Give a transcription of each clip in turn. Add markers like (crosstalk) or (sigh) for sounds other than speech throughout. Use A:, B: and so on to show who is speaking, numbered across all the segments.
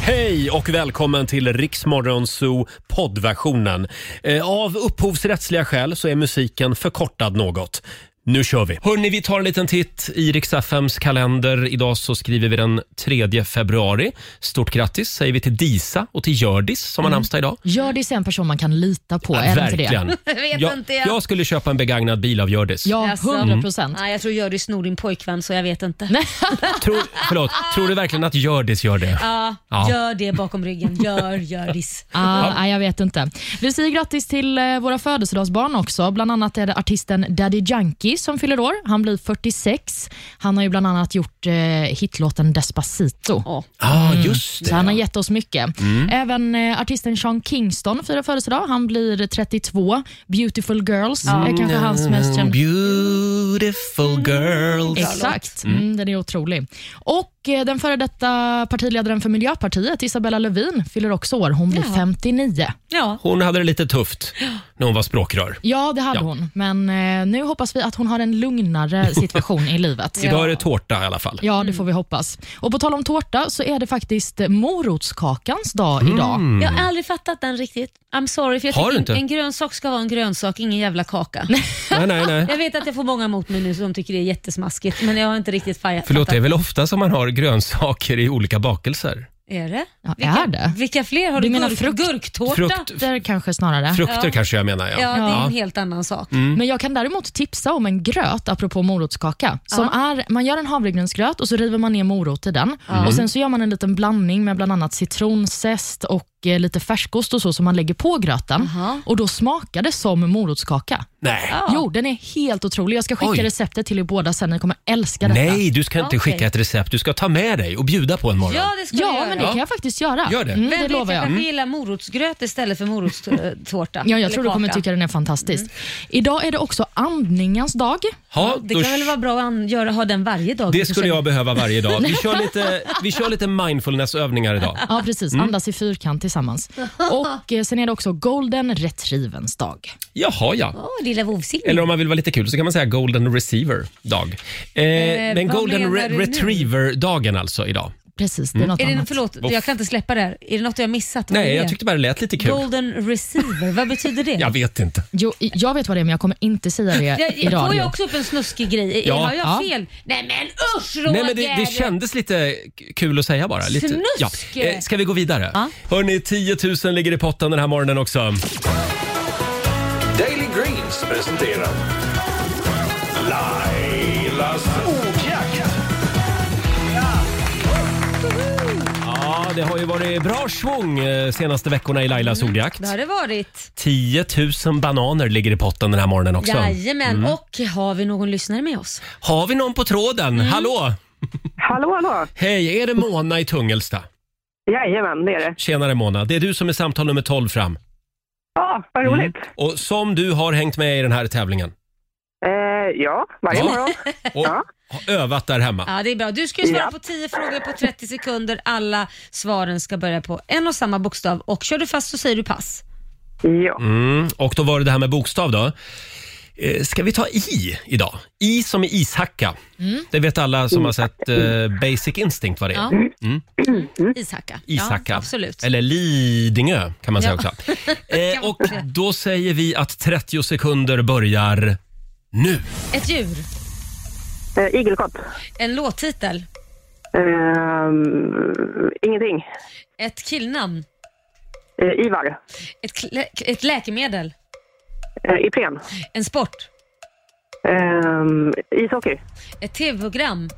A: Hej och välkommen till Riksmorgon Zoo poddversionen. Eh, Av upphovsrättsliga skäl så är musiken förkortad något. Nu kör vi! Hörni, vi tar en liten titt i Riks-FMs kalender. Idag så skriver vi den 3 februari. Stort grattis säger vi till Disa och till Hjördis som har namnsdag idag.
B: Gör det en person man kan lita på. är det inte
A: Verkligen.
B: Det?
C: Vet
A: jag,
C: inte jag.
A: jag skulle köpa en begagnad bil av Hjördis.
B: Ja,
C: Jaså?
B: 100
A: Mm.
B: procent.
C: Nej, jag tror Gördis snor din pojkvän så jag vet inte.
A: Tror, förlåt, tror du verkligen att Hjördis gör det?
C: Ja,
A: Ja.
C: Gör det bakom ryggen. Gör
B: (laughs)
C: Gördis.
B: Ah, nej, jag vet inte. Vi säger grattis till eh, våra födelsedagsbarn också. Bland annat är det artisten Daddy Yankee som fyller år. Han blir 46. Han har ju bland annat gjort eh, hitlåten Despacito. Mm.
C: Ja.
A: ah, just
B: Så han har
A: det. Mm.
B: gett oss mycket. Även eh, artisten Sean Kingston firar födelsedag. Han blir 32. Beautiful Girls är kanske hans mest
A: Mm,
B: kända
A: Beautiful girls.
B: Exakt, mm, den är otrolig. Och eh, den före detta partiledaren för Miljöpartiet, Isabella Lövin, fyller också år. Hon blir 59.
C: Ja.
A: Hon hade det lite tufft när hon var språkrör.
B: Ja, det hade
A: Ja.
B: hon. Men eh, nu hoppas vi att hon har en (laughs) lugnare situation i livet.
A: Idag är det tårta i alla fall.
B: Ja, det får vi hoppas. Och På tal om tårta så är det faktiskt morotskakans dag idag.
C: Jag har aldrig fattat den riktigt. I'm sorry. För jag
A: Mm. Har du inte?
C: tycker en, en grönsak ska vara en grönsak, ingen jävla kaka.
A: Nej, nej, nej.
C: Jag vet att jag får många emot mig nu som tycker det är jättesmaskigt, men jag har inte riktigt fa-
A: Förlåt, det är
C: fattat.
A: väl ofta som man har grönsaker i olika bakelser?
C: Är det?
B: Ja,
C: Vilka,
B: är det?
C: Vilka fler? Har
B: Du
C: du,
B: menar
C: gurk,
B: frukt-
C: gurktårta?
A: Frukt,
B: Där kanske snarare.
A: frukter
C: Ja.
A: kanske jag menar, ja. Mm.
C: Ja, det är en helt annan sak.
B: Men jag kan däremot tipsa om en gröt, apropå morotskaka. Som är, man gör en havregrynsgröt och så river man ner morot i den. Och Sen så gör man en liten blandning med bland annat citronzest och eh, lite färskost och så som man lägger på gröten.
C: Aha.
B: Och Då smakar det som morotskaka.
A: Nej.
B: Jo, den är helt otrolig. Jag ska skicka
A: Oj.
B: receptet till er båda sen. Ni kommer älska detta.
A: Nej, du ska inte
C: Okej.
A: skicka ett recept. Du ska ta med dig och bjuda på en morgon.
C: Ja, det ska jag
B: Ja,
C: göra.
B: men det kan jag faktiskt göra.
A: Gör det.
B: Mm,
C: Vem
B: det
C: vet,
B: lovar
C: jag
B: jag.
C: kanske gillar morotgröt istället för morotstårta.
B: Ja, jag
C: Eller
B: tror du kommer
C: kaka.
B: tycka den är fantastisk. Idag är det också andningens dag.
A: Ha,
C: Det
A: då
C: kan väl vara bra att an- göra, ha den varje dag?
A: Det skulle jag behöva varje dag. Vi kör
C: (laughs)
A: lite, vi kör lite mindfulnessövningar idag.
B: (laughs) Ja, precis. Andas i fyrkant tillsammans. Och eh, Sen är det också golden retrieverns dag.
A: Jaha, ja.
C: Åh, lilla vovsing.
A: Eller om man vill vara lite kul så kan man säga Golden Receiver dag. Eh, men
C: vad
A: Golden
C: menar
A: Re-
C: du nu?
A: Retriever-dagen alltså idag.
B: Precis, det är något
C: Är det,
B: annat.
C: förlåt, jag kan inte släppa det här. Är det något jag har missat? Vad
A: Nej,
C: är
A: jag
C: det?
A: tyckte bara det lät lite kul.
C: Golden receiver, vad
A: (laughs)
C: betyder det?
A: Jag vet inte.
B: Jo, jag vet vad det är, men jag kommer inte säga det
C: Jag,
B: i
C: jag får
B: radio.
C: ju också upp en snuskig grej.
A: Ja.
C: Har jag
B: Ja.
C: fel? Nej men usch Roger!
A: Nej, men det, det kändes lite k- kul att säga bara. Lite,
C: Snusk!
A: Eh, Ska vi gå vidare? Hörni, 10 000 ligger i potten den här morgonen också.
D: Daily Greens presenterar Lailas ordjakt.
A: Ja, det har ju varit bra svung eh, senaste veckorna i Lailas ordjakt.
C: Mm, Det har det varit.
A: 10 000 bananer ligger i potten den här morgonen också. Mm.
C: Jajamän, och har vi någon lyssnare med oss?
A: Har vi någon på tråden?
C: Mm.
A: Hallå!
E: Hallå, hallå!
A: Hej, är det Mona i Tungelsta?
E: Jajamän, det är det.
A: Tjenare Mona, det är du som är samtal nummer 12 fram.
E: Ja, vad
A: Mm.
E: roligt.
A: Och som du har hängt med i den här tävlingen
E: Eh, ja, varje
A: Ja.
E: morgon.
A: och har övat där hemma.
C: Ja, det är bra. Du ska ju svara
E: Ja.
C: på 10 frågor på 30 sekunder. Alla svaren ska börja på en och samma bokstav och kör du fast så säger du pass.
E: Ja.
A: Mm, och då var det det här med bokstav då. Eh, Ska vi ta I idag? I som i ishacka. Det vet alla som har sett eh, Basic Instinct vad det är.
C: Mm. Ja. Ishacka.
A: Ishacka.
C: Ja, absolut.
A: Eller Lidingö kan man säga
C: Ja.
A: också.
C: (laughs)
A: Eh, och då säger vi att 30 sekunder börjar nu.
C: Ett djur.
E: Eh, igelkott.
C: En låttitel.
E: Ehm, ingenting.
C: Ett killnamn.
E: Eh, Ivar.
C: Ett, klä- ett läkemedel.
E: Eh, Ipren.
C: En sport.
E: Ehm, ishockey.
C: Ett tv-program.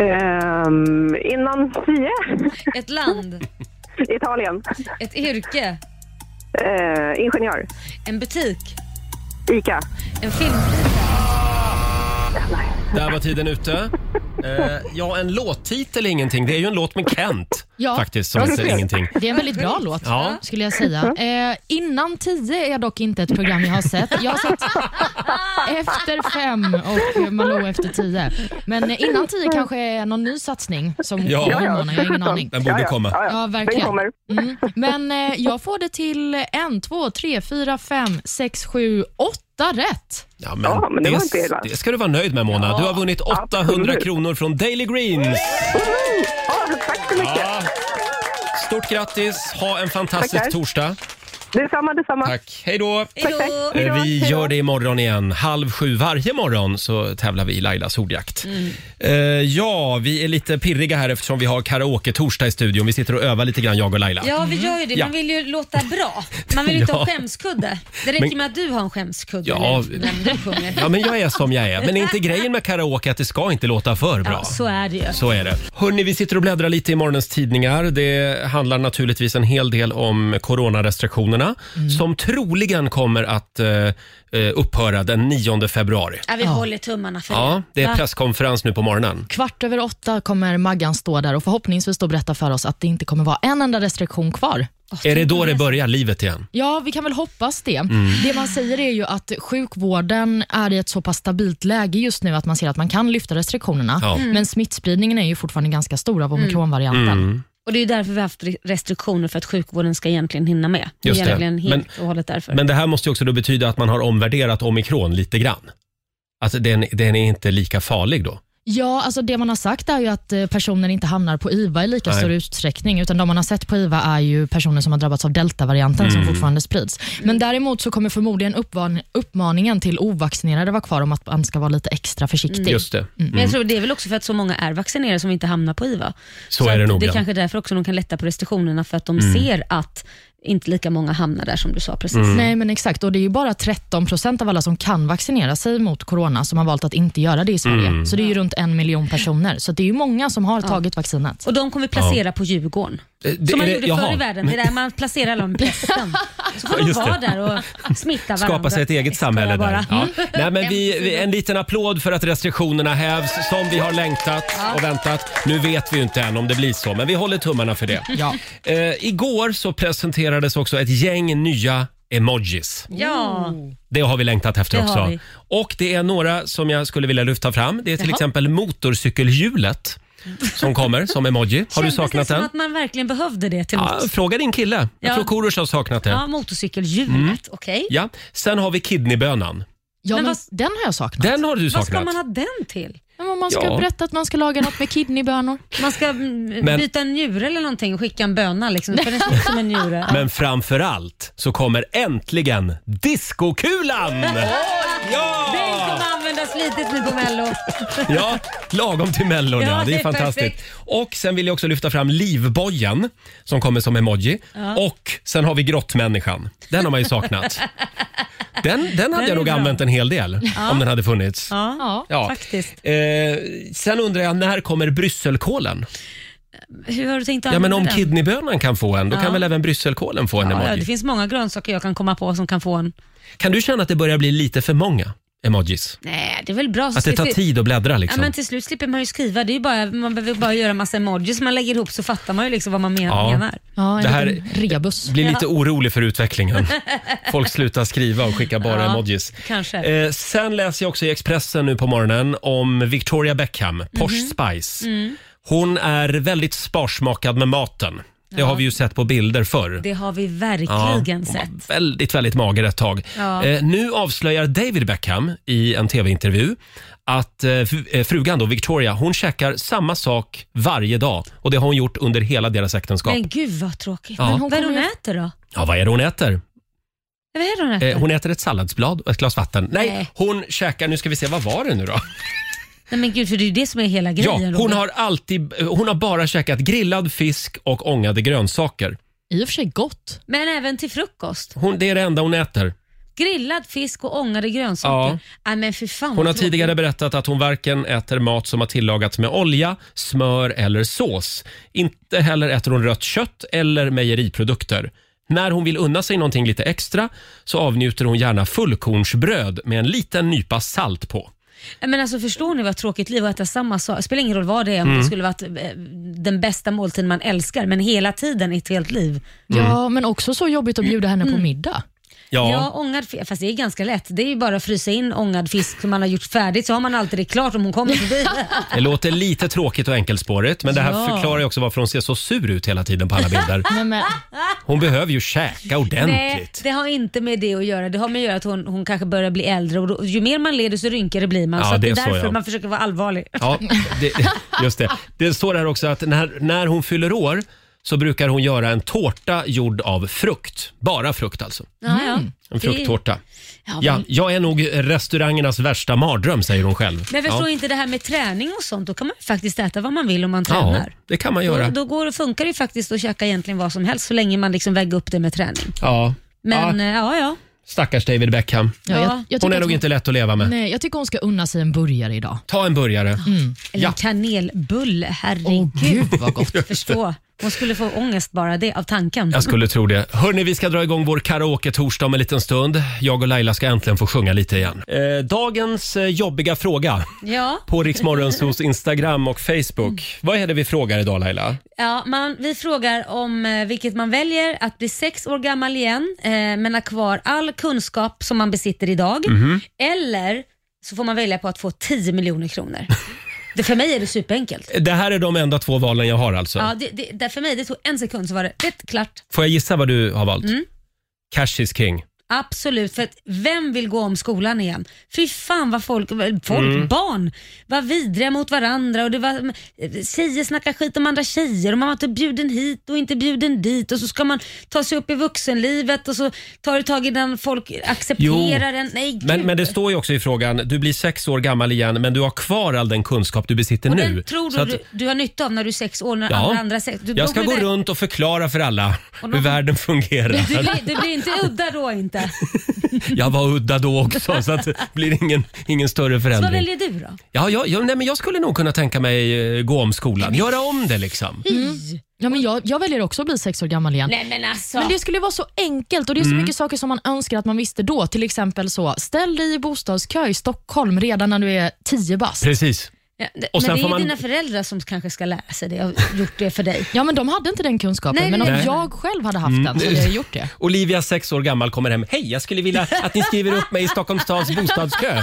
E: Ehm, innan tio. (laughs)
C: Ett land.
E: Italien.
C: Ett yrke.
E: Eh, ingenjör.
C: En butik.
E: Ica.
C: En film.
A: Där var tiden ute. Eh, ja, en låttitel är ingenting. Det är ju en låt med Kent
B: Ja.
A: faktiskt som heter Ingenting.
B: Det är en väldigt bra låt,
A: Ja.
B: skulle jag säga. Eh, innan tio är jag dock inte ett program jag har sett. Jag har sett efter fem och eh, Malou efter tio. Men eh, innan tio kanske är någon ny satsning som
A: Ja.
B: kommer någon, jag har ingen aning.
A: Den borde komma.
E: Ja, ja.
B: Ja,
E: Den
B: verkligen.
E: kommer.
B: Mm. Men eh, jag får det till en, två, tre, fyra, fem, sex, sju, åtta åtta rätt.
A: Ja, men
E: Ja, men det var inte illa.
A: det ska du vara nöjd med Mona. Du har vunnit 800
E: absolut.
A: kronor från Daily Greens.
E: Woho! Ja, tack så mycket.
A: Ja. Stort grattis, ha en fantastisk
E: Tackar.
A: torsdag.
E: Detsamma, detsamma.
A: Tack, hej då.
E: Tack, tack.
C: Hejdå.
E: Hej då,
A: Eh, Vi
E: hej då.
A: gör det imorgon igen. Halv sju varje morgon så tävlar vi i Lailas ordjakt.
E: Mm.
A: Eh, ja, vi är lite pirriga här eftersom vi har karaoke-torsdag i studion. Vi sitter och övar lite grann, jag och Laila.
C: Ja, vi gör ju det.
A: Ja.
C: Man vill ju låta bra. Man vill ju inte ha
A: Ja.
C: skämskudde. Det räcker
A: Men-
C: med att du har en skämskudde.
A: Ja.
C: nu när du sjunger.
A: Ja, men jag är som jag är. Men är inte grejen med karaoke att det ska inte låta för bra?
C: Ja, så är det ju.
A: Så är det. Hörni, vi sitter och bläddrar lite i morgonens tidningar. Det handlar naturligtvis en hel del om coronarestriktionerna
C: Mm.
A: som troligen kommer att eh, eh, upphöra den 9 februari.
C: Ja, vi håller tummarna för
A: Ja, det är
C: Va?
A: presskonferens nu på morgonen.
B: Kvart över åtta kommer Maggan stå där och förhoppningsvis då berätta för oss att det inte kommer vara en enda restriktion kvar.
A: Är det då det börjar, livet igen?
B: Ja, vi kan väl hoppas det. Det man säger är ju att sjukvården är i ett så pass stabilt läge just nu att man ser att man kan lyfta restriktionerna.
A: Ja.
B: Men smittspridningen är ju fortfarande ganska stor av
C: Mm.
B: omikronvarianten.
A: Mm.
C: Och det är ju därför vi har haft re- restriktioner för att sjukvården ska egentligen hinna med.
A: Just det.
C: är egentligen helt
A: Men-
C: och hållet därför.
A: Men det här måste ju också då betyda att man har omvärderat omikron lite grann. Alltså den, den är inte lika farlig då.
B: Ja, alltså det man har sagt är ju att eh, personer inte hamnar på IVA i lika
A: Nej.
B: stor utsträckning, utan de man har sett på IVA är ju personer som har drabbats av deltavarianten som
A: Mm.
B: fortfarande sprids.
C: Mm.
B: Men däremot så kommer förmodligen uppvan- uppmaningen till ovaccinerade vara kvar om att man ska vara lite extra försiktig.
A: Mm. Just det.
C: Men jag tror det är väl också för att så många är vaccinerade som inte hamnar på IVA.
A: Så är det
C: att
A: nog,
C: Det
A: ja. Mm.
C: är kanske därför också de kan lätta på restriktionerna för att de ser att inte lika många hamnar där som du sa precis.
A: Mm.
B: Nej, men exakt. Och Det är ju bara 13 procent av alla som kan vaccinera sig mot corona som har valt att inte göra det i Sverige.
A: Mm.
B: Så det är ju runt en miljon personer. Så det är ju många som har tagit vaccinet.
C: Och de kommer vi placera på Djurgården.
A: Eh, det-
C: som man
A: är det-
C: gjorde
A: jaha.
C: förr i världen. Det är där man placerar alla
A: (laughs)
C: de bästa. Så får de
A: Just det.
C: vara där och smitta varandra.
A: Skapa sig ett eget
C: Jag skojar
A: samhälle där.
C: bara.
A: Ja.
C: Mm.
A: Nej, men vi, vi- en liten applåd för att restriktionerna hävs som vi har längtat och väntat. Nu vet vi ju inte än om det blir så, men vi håller tummarna för det.
B: Ja.
A: Eh, igår så presenterades också ett gäng nya emojis.
C: Ja,
A: Det har vi längtat efter
C: Det har
A: också.
C: vi.
A: Och det är några som jag skulle vilja lyfta fram. Det är till exempel motorcykelhjulet som kommer som emoji. Har du
C: Kändes
A: saknat
C: det
A: den?
C: som att man verkligen behövde det till
A: Ja,
C: något?
A: fråga din kille. Jag
C: Ja.
A: tror Korosh har saknat det.
C: Ja, motorcykelhjulet. Okej.
A: Mm. Ja. Sen har vi kidneybönan.
B: Ja,
C: Men
B: men
C: vad-
B: den har jag saknat.
A: Den har du
C: Vad ska
A: saknat.
C: man ha den till?
B: Men om man ska
A: Ja.
B: berätta att man ska laga något med kidneybönor.
C: Man ska mm,
A: Men-
C: byta en njure eller någonting och skicka en böna liksom.
A: (laughs)
C: För den ser ut som en njure.
A: Men framför allt så kommer äntligen diskokulan!
C: Den
A: Ja!
C: kommer användas litet nu på mello.
A: ja! Lagom till Mellon, ja.
C: Ja,
A: Det
C: det
A: är
C: är
A: fantastiskt. Och sen vill jag också lyfta fram livbojen som kommer som emoji. Och sen har vi grottmänniskan. Den har man ju saknat. Den, den hade
C: Den
A: jag
C: är
A: nog
C: bra.
A: använt en hel del om den hade funnits.
C: Ja,
B: Ja.
A: Ja.
C: faktiskt.
A: Eh, sen undrar jag, när kommer brysselkålen?
C: Hur har du tänkt
A: Ja, men om
C: använda den?
A: kidneybönan kan få en, då kan
C: Ja.
A: väl även brysselkålen få en
C: Ja, det
A: emoji?
C: finns många grönsaker jag kan komma på som kan få en.
A: Kan du känna att det börjar bli lite för många emojis?
C: Nej, det är väl bra.
A: Att det tar tid att bläddra
C: Ja,
A: liksom?
C: men till slut slipper man ju skriva. Det är ju bara, man behöver bara göra massa emojis man lägger ihop så fattar man ju liksom vad man men-
A: Ja.
C: menar.
B: Ja, en
A: Det här-
B: liten rebus.
A: Blir lite orolig för
C: (laughs)
A: utvecklingen. Folk slutar skriva och skickar bara
C: Ja,
A: emojis.
C: kanske.
A: Eh, sen läser jag också i Expressen nu på morgonen om Victoria
C: Mhm.
A: Beckham, Posh Spice.
C: Mm.
A: Hon är väldigt sparsmakad med maten. Det har vi ju sett på bilder förr.
C: Det har vi
A: Ja,
C: verkligen
A: hon
C: sett.
A: var väldigt, väldigt mager ett tag.
C: Ja.
A: Eh, nu avslöjar David Beckham i en tv-intervju att eh, fru- eh, frugan då, Victoria, hon käkar samma sak varje dag och det har hon gjort under hela deras äktenskap.
C: Men gud vad tråkigt.
A: Ja.
C: Men hon vad är det hon
B: kommer
C: äter då?
A: Ja, vad är det hon äter?
C: Vad är det hon äter?
A: Eh, hon äter ett salladsblad och ett glas vatten. Nej,
C: Nej.
A: hon käkar, nu ska vi se, vad var det nu då?
C: Nej men gud, för det är ju det som är hela
A: Ja,
C: grejen.
A: hon
C: Robert.
A: har alltid, eh, hon har bara käkat grillad fisk och ångade grönsaker.
B: I och för sig gott.
C: Men även till frukost.
A: Hon, det är det enda hon äter.
C: Grillad fisk och ångade grönsaker.
A: Ja.
C: Nej men för fan
A: Hon
C: vad
A: har
C: tråkigt.
A: tidigare berättat att hon varken äter mat som har tillagats med olja, smör eller sås. Inte heller äter hon rött kött eller mejeriprodukter. När hon vill unna sig någonting lite extra så avnjuter hon gärna fullkornsbröd med en liten nypa salt på.
C: Nej, Men alltså förstår ni vad tråkigt liv att äta samma sak? Det spelar ingen roll vad det är, om
A: Mm.
C: det skulle varit eh, den bästa måltiden man älskar, men hela tiden i ett helt liv.
B: Ja, men också så jobbigt att bjuda henne på middag.
A: Ja.
C: Jag ångad fisk, fast det är ganska lätt. Det är ju bara att frysa in ångad fisk som man har gjort färdigt så har man alltid det klart om hon
A: (laughs)
C: kommer förbi.
A: Det låter lite tråkigt och enkelspårigt, men det här
C: Ja.
A: förklarar ju också varför hon ser så sur ut hela tiden på alla bilder.
B: Nej, men,
A: Hon behöver ju käka
C: Nej,
A: ordentligt.
C: det har inte med det att göra. Det har med att göra att hon, hon kanske börjar bli äldre och då, ju mer man leder så rynkigare blir man.
A: Ja,
C: så att det är
A: det är så,
C: därför
A: ja.
C: man försöker vara allvarlig.
A: Ja, det, (laughs) just det. Det står här också att när, när hon fyller år så brukar hon göra en tårta gjord av frukt. Bara frukt alltså.
C: Ja, ja.
A: En
C: Det är-
A: frukttårta.
C: Ja,
A: Ja,
C: men-
A: jag är nog restaurangernas värsta mardröm, säger hon själv.
C: Men förstår
A: ja.
C: inte det här med träning och sånt. Då kan man ju faktiskt äta vad man vill om man
A: Ja,
C: tränar.
A: det kan man göra.
C: Då, då går, funkar det ju faktiskt att käka egentligen vad som helst så länge man liksom väger upp det med träning.
A: Ja.
C: Men
A: ja,
C: eh, ja, ja.
A: stackars David Beckham.
B: ja,
C: Ja.
B: jag,
C: Hon
B: jag tycker
A: Hon är
B: att
A: nog inte lätt att leva med.
B: Nej, jag tycker hon ska unna sig en burgare idag.
A: Ta en burgare.
C: Eller
A: Ja.
C: en kanelbulle,
B: Åh
C: herregud.
B: gud vad gott.
C: Förstå. Hon skulle få ångest bara det av tanken.
A: Jag skulle tro det. Hörni, vi ska dra igång vår karaoke-torsdag om en liten stund. Jag och Laila ska äntligen få sjunga lite igen. Eh, dagens eh, jobbiga fråga
C: Ja,
A: på Riksmorgonsos
C: (laughs)
A: Instagram och Facebook. Vad är det vi frågar idag Laila?
C: ja man, vi frågar om eh, vilket man väljer, att bli sex år gammal igen eh, men ha kvar all kunskap som man besitter idag. Eller så får man välja på att få 10 miljoner kronor. det, för mig är det superenkelt.
A: Det här är de enda två valen jag har alltså.
C: Ja, det, det, det, för mig det tog en sekund så var det rätt klart.
A: Får jag gissa vad du har valt?
C: Mm.
A: Cash is king.
C: Absolut, för att vem vill gå om skolan igen? Fy fan vad folk, folk
A: Mm.
C: barn var vidriga mot varandra och det var tjejer snackar skit om andra tjejer och man var inte bjuden hit och inte bjuden dit och så ska man ta sig upp i vuxenlivet och så tar det tag i den folk accepterar en. Nej, gud.
A: Men, men det står ju också i frågan, du blir sex år gammal igen men du har kvar all den kunskap du besitter
C: och
A: nu.
C: den tror
A: Så
C: du,
A: att-
C: du du har nytta av när du är sex år, när
A: Ja.
C: alla andra är sex. Du,
A: jag
C: då
A: ska gå
C: blir det-
A: runt och förklara för alla
C: då-
A: hur världen
C: (laughs)
A: fungerar.
C: Du blir, du blir inte udda då inte.
A: Jag var udda då också så att det blir ingen, ingen större
C: Så vad
A: förändring.
C: väljer du då?
A: Ja, ja, ja, nej, men jag skulle nog kunna tänka mig eh, gå om skolan, göra om det liksom.
B: Ja, men jag, jag väljer också att bli sex år gammal igen.
C: Nej men alltså.
B: Men det skulle vara så enkelt och det är så mycket saker som man önskar att man visste då. Till exempel så, ställ dig i bostadskö i Stockholm redan när du är 10 bast.
A: Precis.
C: Ja, det,
A: Och sen
C: men det är
A: får
C: ju
A: man-
C: dina föräldrar som kanske ska lära sig
A: (laughs)
C: det och gjort det för dig.
B: Ja, men de hade inte den kunskapen,
C: Nej,
B: men om
C: nej.
B: jag själv hade haft den så hade jag gjort det.
A: Olivia, sex år gammal, kommer hem. Hej, jag skulle vilja att ni skriver upp mig i Stockholms stads
C: (laughs)
A: bostadskö.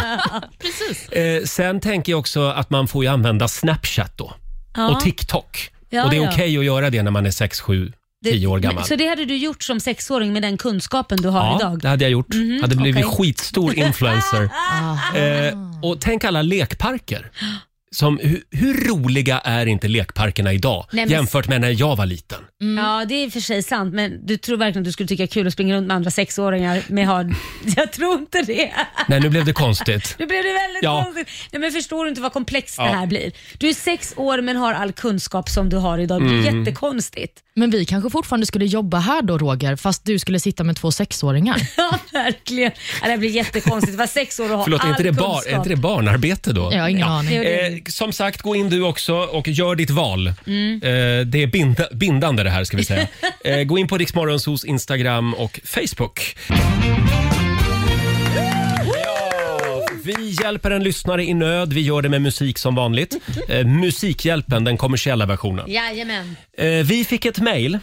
A: Precis. Eh, sen tänker jag också att man får ju använda Snapchat då.
C: Ja.
A: Och TikTok.
C: Ja,
A: och det är
C: ja.
A: okej att göra det när man är sex, sju,
C: Det-
A: tio år gammal.
C: Så det hade du gjort som sexåring med den kunskapen du har
A: Ja,
C: idag?
A: det hade jag gjort. hade blivit
C: Mhm, okej. (laughs)
A: skitstor influencer.
B: Ah.
A: Eh, och tänk alla lekparker. Som, hur, hur roliga är inte lekparkerna idag
C: Nej, men-
A: jämfört med när jag var liten?
C: Ja, det är i och för sig sant, men du tror verkligen att du skulle tycka kul att springa runt med andra sexåringar
A: (laughs)
C: med hard... Jag tror inte det.
A: Nej, nu blev det
C: (laughs)
A: konstigt.
C: Nu blev det väldigt
A: Ja.
C: konstigt. Nej, men förstår du inte vad komplext
A: Ja.
C: det här blir? Du är sex år men har all kunskap som du har idag. Det är
A: Mm.
C: jättekonstigt. (laughs)
B: Men vi kanske fortfarande skulle jobba här då, Roger, fast du skulle sitta med två sexåringar.
C: Ja, verkligen. Ja, det här blir jättekonstigt. Var sex år och ha
A: Förlåt, är
C: all
A: inte, det bar, är
C: kunskap.
A: inte det barnarbete då?
B: Jag har ingen aning.
C: Det-
A: Eh, som sagt, gå in du också och gör ditt val. Eh, det är binda, bindande det här ska vi säga. eh, gå in på Riksmorgonsos Instagram och Facebook. Ja, Vi hjälper en lyssnare i nöd. Vi gör det med musik som vanligt. Eh, musikhjälpen, den kommersiella versionen.
C: Jajamän.
A: Eh, vi fick ett mejl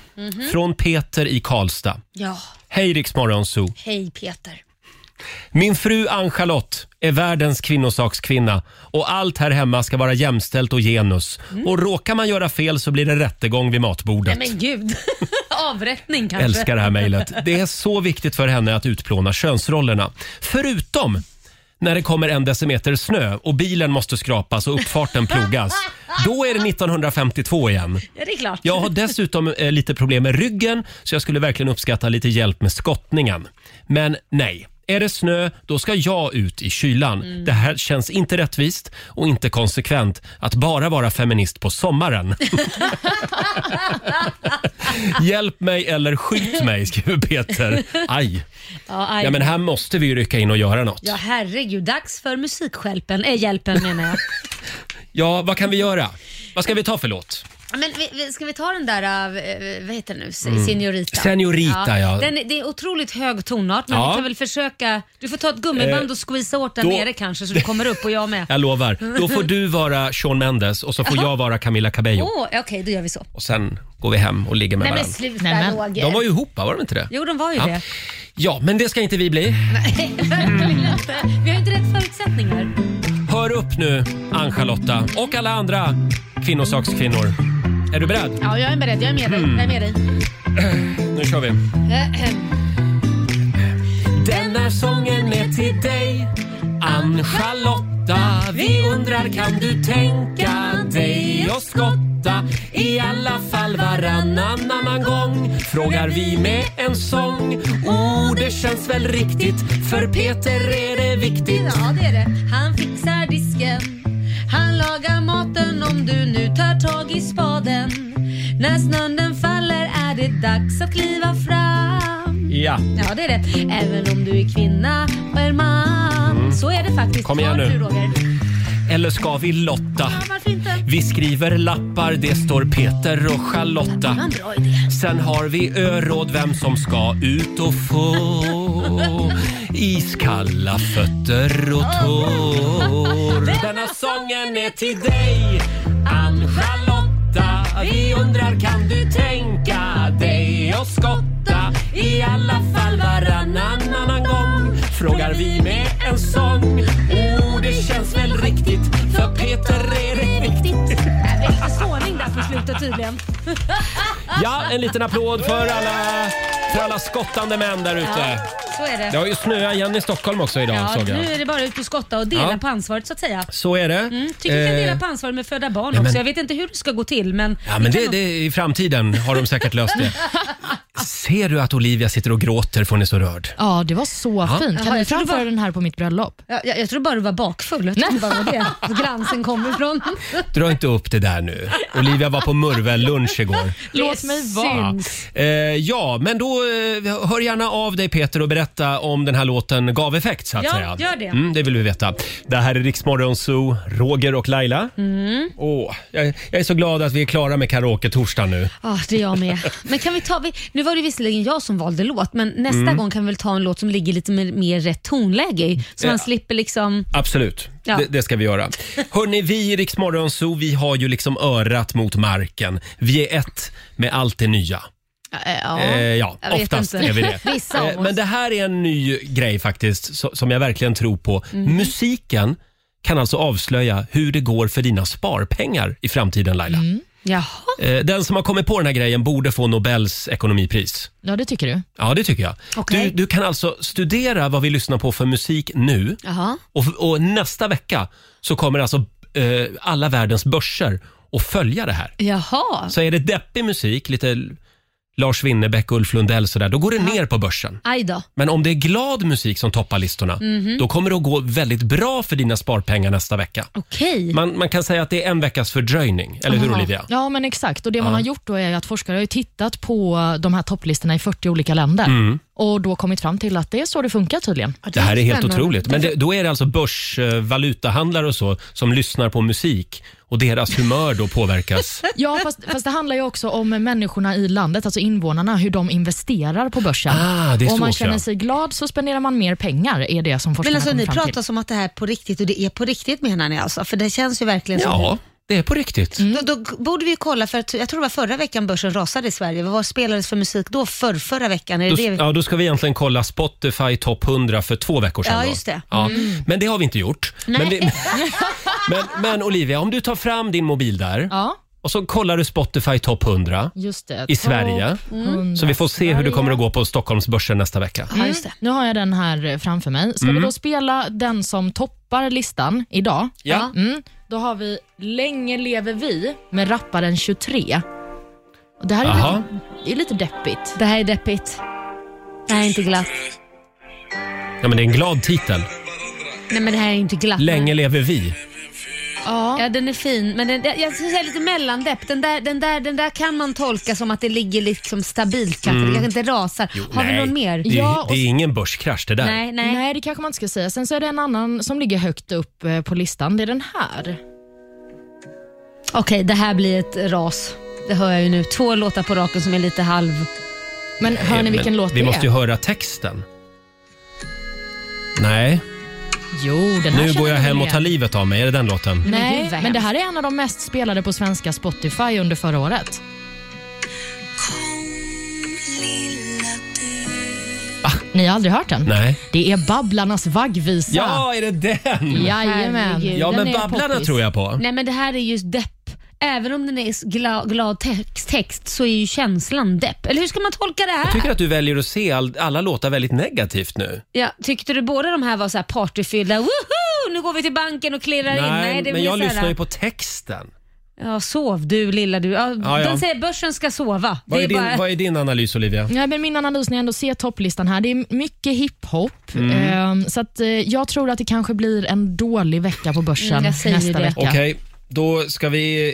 A: från Peter i Karlstad.
C: Ja,
A: Hej Riksmorgonso.
C: hej Peter.
A: Min fru Ann-Charlotte är världens kvinnosakskvinna och allt här hemma ska vara jämställt och genus. Och råkar man göra fel så blir det rättegång vid matbordet.
C: Mm. Nej men gud. (laughs) Avrättning kanske.
A: Älskar det här
C: (laughs)
A: mejlet. Det är så viktigt för henne att utplåna könsrollerna. Förutom när det kommer en decimeter snö och bilen måste skrapas och uppfarten plogas. Då är det 1952 igen.
C: Ja, det är klart.
A: Jag har dessutom eh, lite problem med ryggen så jag skulle verkligen uppskatta lite hjälp med skottningen. Men nej. Är det snö, då ska jag ut i kylan.
C: Mm.
A: Det här känns inte rättvist och inte konsekvent att bara vara feminist på
C: (laughs)
A: sommaren. Hjälp mig eller skjut mig, skriver Peter. Aj.
C: Ja, aj.
A: Ja, men här måste vi ju rycka in och göra något.
C: ja herregud. Dags för musikhjälpen. Äh, hjälpen menar
A: (laughs)
C: jag.
A: Ja, vad kan vi göra? Vad ska vi ta för låt?
C: Men vi- vi- ska vi ta den där, av, eh, vad heter den nu, Se- Senorita?
A: Mm. Senorita, ja.
C: Den, är- det är otroligt hög tonart, men
A: Ja. Eh,
C: vi kan väl försöka. Du får ta ett gummiband och squeeza åt den
A: då-
C: nere kanske så du kommer upp och jag
A: (laughs)
C: med. Åh,
A: Jag lovar. Då får du vara Shawn Mendes och så får jag vara Camila Cabello.
C: okej då gör vi så.
A: och sen går vi hem och ligger med
C: Nej men
A: varandra.
C: sluta
B: Nej, men-
C: Roger.
A: De var ju ihop, va? var de inte det?
C: Jo, de var ju
A: Ja.
C: det. (laughs)
A: Ja, men det ska inte vi bli.
C: Verkligen inte. Vi har ju inte rätt förutsättningar.
A: Hör upp nu, Ann-Charlotta och alla andra kvinnosakskvinnor. Är du beredd?
F: Ja, jag är beredd. Jag är med dig. Jag är med dig.
A: Mm.
F: Eh,
A: Nu kör vi. Denna sången är till dig Ann-Charlotta Vi undrar kan du tänka dig att skotta I alla fall varannan annan gång Frågar vi med en sång Oh, det känns väl riktigt För Peter är det viktigt
C: Ja, det är det. Han fixar disken. Han lagar maten om du nu tar tag i spaden. När snön den faller är det dags att kliva fram.
A: Ja,
C: Ja, det är det. Även om du är kvinna och är man. Så är det faktiskt.
A: Mm. Kom igen
C: Har
A: nu.
C: Du, Roger.
A: eller ska vi lotta?
C: Ja, varför inte?
A: Vi skriver lappar, det står Peter och Charlotta.
C: Det var en bra idé.
A: Sen har vi öråd vem som ska ut och få iskalla fötter och tår. Denna sången är till dig, Ann-Charlotta. Vi undrar kan du tänka dig att skotta i alla fall varannan annan gång? Frågar vi med en sång. Oh, det känns väl riktigt för Peter är det viktigt.
C: Det är lite såning där på slutet tydligen.
A: Ja, en liten applåd för alla, för alla skottande män där ute.
C: Så är det.
A: Det har ju snöat igen i Stockholm också idag
C: Ja,
A: såg
C: nu
A: jag.
C: är det bara ut och skotta och dela
A: Ja.
C: på ansvaret så att säga.
A: Så är det.
C: Mm, tycker vi kan
A: Eh,
C: dela på ansvaret med att föda barn
A: men-
C: också. Jag vet inte hur det ska gå till men...
A: Ja, men
C: vi kan
A: det,
C: nog-
A: det, i framtiden har de säkert löst (laughs) det. Ser du att Olivia sitter och gråter får ni så rörd.
B: Ja, det var så fint. Kan
C: Jaha,
B: ni
C: jag trodde
B: framföra
C: bara-
B: den här på mitt bröllop?
C: Ja, jag, jag tror bara du var bakfull. Jag trodde bara det var det (laughs) glansen kom ifrån.
A: Dra inte upp det där nu. Olivia var på murvellunch igår.
B: Låt mig vara.
A: Eh, ja, men då eh, hör gärna av dig Peter och berätta om den här låten gav effekt så att
C: Ja,
A: säga.
C: gör det.
A: Mm, det vill vi veta. Det här är Riksmorgon Zoo, Roger och Laila. Åh, jag, jag är så glad att vi är klara med karaoke-torsdag nu.
C: Ja, Ah, det är jag med. Men kan vi ta, vi, nu var det visserligen jag som valde låt, men nästa
A: Mm.
C: gång kan vi väl ta en låt som ligger lite mer, mer rätt tonläge i. Så man
A: Ja.
C: slipper liksom...
A: Absolut,
C: Ja.
A: det, det ska vi göra. Hörni, vi i Rix Morgon Zoo, vi har ju liksom örat mot marken. Vi är ett med allt det nya.
F: Eh, Ja.
A: Eh, ja,
F: jag vet
A: oftast
F: inte.
A: är vi
C: (laughs)
A: det.
F: Vissa av
A: Eh,
F: oss.
A: men det här är en ny grej faktiskt, so- som jag verkligen tror på. Musiken kan alltså avslöja hur det går för dina sparpengar i framtiden, Laila.
C: Jaha.
A: Eh, den som har kommit på den här grejen borde få Nobels ekonomipris.
B: Ja, det tycker du.
A: Ja, det tycker jag.
C: Okej.
A: Du, du kan alltså studera vad vi lyssnar på för musik nu.
C: Jaha.
A: Och, och nästa vecka så kommer alltså eh, alla världens börser att följa det här.
C: Jaha.
A: Så är det deppig musik, lite Lars Winnerbäck, Ulf Lundell sådär, då går det ner på börsen.
C: Aj då.
A: Men om det är glad musik som toppar listorna,
F: Mhm.
A: då kommer det att gå väldigt bra för dina sparpengar nästa vecka.
C: Okej.
A: Man, man kan säga att det är en veckas fördröjning, eller hur Olivia?
B: Ja, men exakt. Och Det man har gjort då är ju att forskare har ju tittat på de här topplistorna i 40 olika länder
A: Mm.
B: och då kommit fram till att det är så det funkar tydligen.
A: Det här är helt
F: spännande.
A: otroligt. Men det, då är det alltså börsvalutahandlare och så som lyssnar på musik och deras humör
F: (laughs)
A: då påverkas.
B: Ja, fast, fast det handlar ju också om människorna i landet, alltså invånarna, hur de investerar på börsen.
A: Ah, det är
B: Och om man
A: så,
B: känner
A: ja.
B: sig glad så spenderar man mer pengar, är det som
F: Men
B: forskarna
F: alltså
B: kom
F: ni
B: fram
F: pratar
B: till.
F: som att det här är på riktigt och det är på riktigt menar ni alltså? För det känns ju verkligen
A: Ja, det är på riktigt.
F: så. Mm. Då, då borde vi ju kolla, för att, jag tror det var förra veckan börsen rasade i Sverige. Vad spelades för musik då? För förra veckan? Är det
A: Då,
F: det? vi-
A: ja, då ska vi egentligen kolla Spotify topp 100 för två veckor sedan.
F: Ja,
A: då.
F: just det. Mm.
A: Ja, Men det har vi inte gjort. Men, vi, (laughs) men, men Olivia, om du tar fram din mobil där
B: Ja,
A: och så kollar du Spotify topp 100
B: just det.
A: i Sverige. Mm. Så vi får se hur det kommer att gå på Stockholmsbörsen nästa vecka.
F: Ja, just det.
B: Mm. Nu har jag den här eh, framför mig. Ska
A: Mm.
B: vi då spela den som toppar listan idag?
A: Ja.
B: Mm. Då har vi Länge lever vi med rapparen 23. Och Det här är,
A: Jaha.
B: lite, det är lite deppigt.
C: Det här är deppigt. Det här är inte glatt.
A: ja, men det är en glad titel.
C: Nej men det här är inte glatt.
A: Länge lever vi.
B: Ja.
C: Ja den är fin, men den, jag- jag skulle säga lite mellandepp. Den där, den, där, den där kan man tolka som att det ligger liksom stabilt kanske.
A: Mm.
C: Det kanske inte rasar. Har vi någon mer?
A: Det, är-
B: Ja, och-
A: det är ingen börskrasch det där.
C: Nej, nej.
B: Nej. det kanske man inte ska säga. Sen så är det en annan som ligger högt upp eh, på listan. Det är den här.
C: Okej, det här blir ett ras. Det hör jag ju nu. Två låtar på raken som är lite halv...
B: Men hör ni
A: Men
B: vilken låt
A: vi
B: det
A: måste
B: är?
A: ju höra texten. Nej,
B: Jo, den här
A: nu
B: känner
A: går jag
B: ni
A: hem
B: väl
A: och tar
B: igen.
A: livet av mig. Är det den låten?
F: Men gud,
B: Nej,
F: vad
B: men det här är en av de mest spelade på svenska Spotify under förra året.
A: Ah,
B: Ni har aldrig hört den?
A: Nej.
B: Det är Babblarnas vaggvisa.
A: Ja, är det den?
B: Jajamän.
G: Herregud.
A: Ja,
G: den
A: men
G: är
A: Babblarna
G: poppis.
A: tror jag på.
C: Nej men det här är just depp. Även om den är s- gla, glad text, text så är ju känslan depp. Eller hur ska man tolka det här?
A: Jag tycker att du väljer att se all, alla låtar väldigt negativt nu.
C: ja, tyckte du båda de här var så här partyfyllda? Woho! Nu går vi till banken och klirrar in. Nej,
A: men
C: det blir
A: jag
C: så här,
A: lyssnar ju på texten.
C: Ja, sov du lilla du. Ja,
A: Ja, ja.
C: De säger börsen ska sova.
A: Vad är,
C: det
A: din,
C: är bara...
A: vad är din analys Olivia?
B: Ja, men min analys när jag ändå ser topplistan här, det är mycket hiphop.
A: Mm.
B: Eh, så att, eh, jag tror att det kanske blir en dålig vecka på börsen
C: Mm, jag säger
B: nästa
C: det.
B: vecka.
A: Okej, då ska vi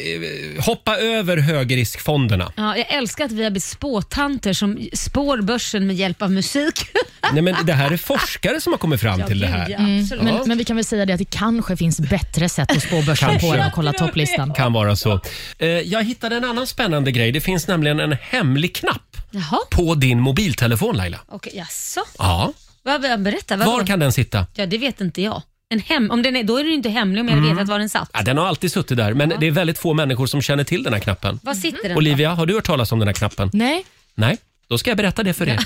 A: eh, hoppa över högriskfonderna.
C: Ja, jag älskar att vi har blivit spåtanter som spår börsen med hjälp av musik. (laughs)
A: Nej, men det här är forskare som har kommit fram till det här. Mm.
C: Ja, absolut.
B: Men, men vi kan väl säga det att det kanske finns bättre sätt att spå börsen på
A: Kanske.
B: än att
A: (laughs)
B: kolla topplistan.
A: Kan vara så. Eh, Jag hittade en annan spännande grej. Det finns nämligen en hemlig knapp
C: Jaha,
A: på din mobiltelefon Laila.
C: okej. Jaså?
A: Ja.
C: Vad- vad- Berätta, vad
A: Var kan den sitta?
C: Ja, det vet inte jag. En hem... om den är... Då är den ju inte hemlig om jag
A: Mm.
C: hade vetat var den satt.
A: Ja, den har alltid suttit där, men det är väldigt få människor som känner till den här knappen.
C: Var sitter den?
A: Olivia, har du hört talas om den här knappen?
B: Nej,
A: Nej, då ska jag berätta det för er.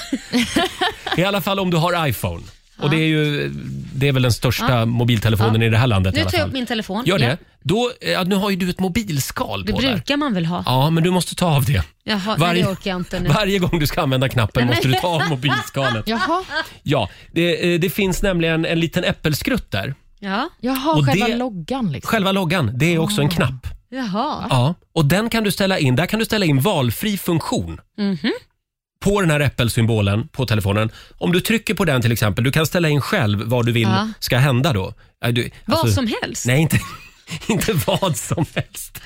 A: (laughs) I alla fall om du har iPhone. Och det är ju det är väl den största mobiltelefonen i det här landet
C: Nu
A: i alla
C: tar jag upp
A: fall.
C: min telefon.
A: Gör
C: Ja.
A: det. Då, eh, ja, nu har ju du ett mobilskal
C: Det
A: på där.
C: brukar man väl ha?
A: Ja, men du måste ta av det.
C: Jaha, nej,
A: Varje-
C: det orkar jag inte nu.
A: Varje gång du ska använda knappen måste du ta av mobilskalet.
B: jaha,
A: Ja, det, eh, det finns nämligen en liten äppelskrutt där.
C: Ja,
B: jaha
A: Och
B: själva
A: det-
B: loggan liksom.
A: Själva loggan, det är också
C: Ah.
A: en knapp.
C: jaha.
A: Ja, och den kan du ställa in. Där kan du ställa in valfri funktion.
C: Mhm.
A: På den här äppelsymbolen på telefonen. Om du trycker på den till exempel, du kan ställa in själv vad du vill
C: Ja.
A: ska hända då. Äh, Du,
C: Vad
A: alltså-
C: som helst.
A: Nej, inte, (laughs) inte vad som helst.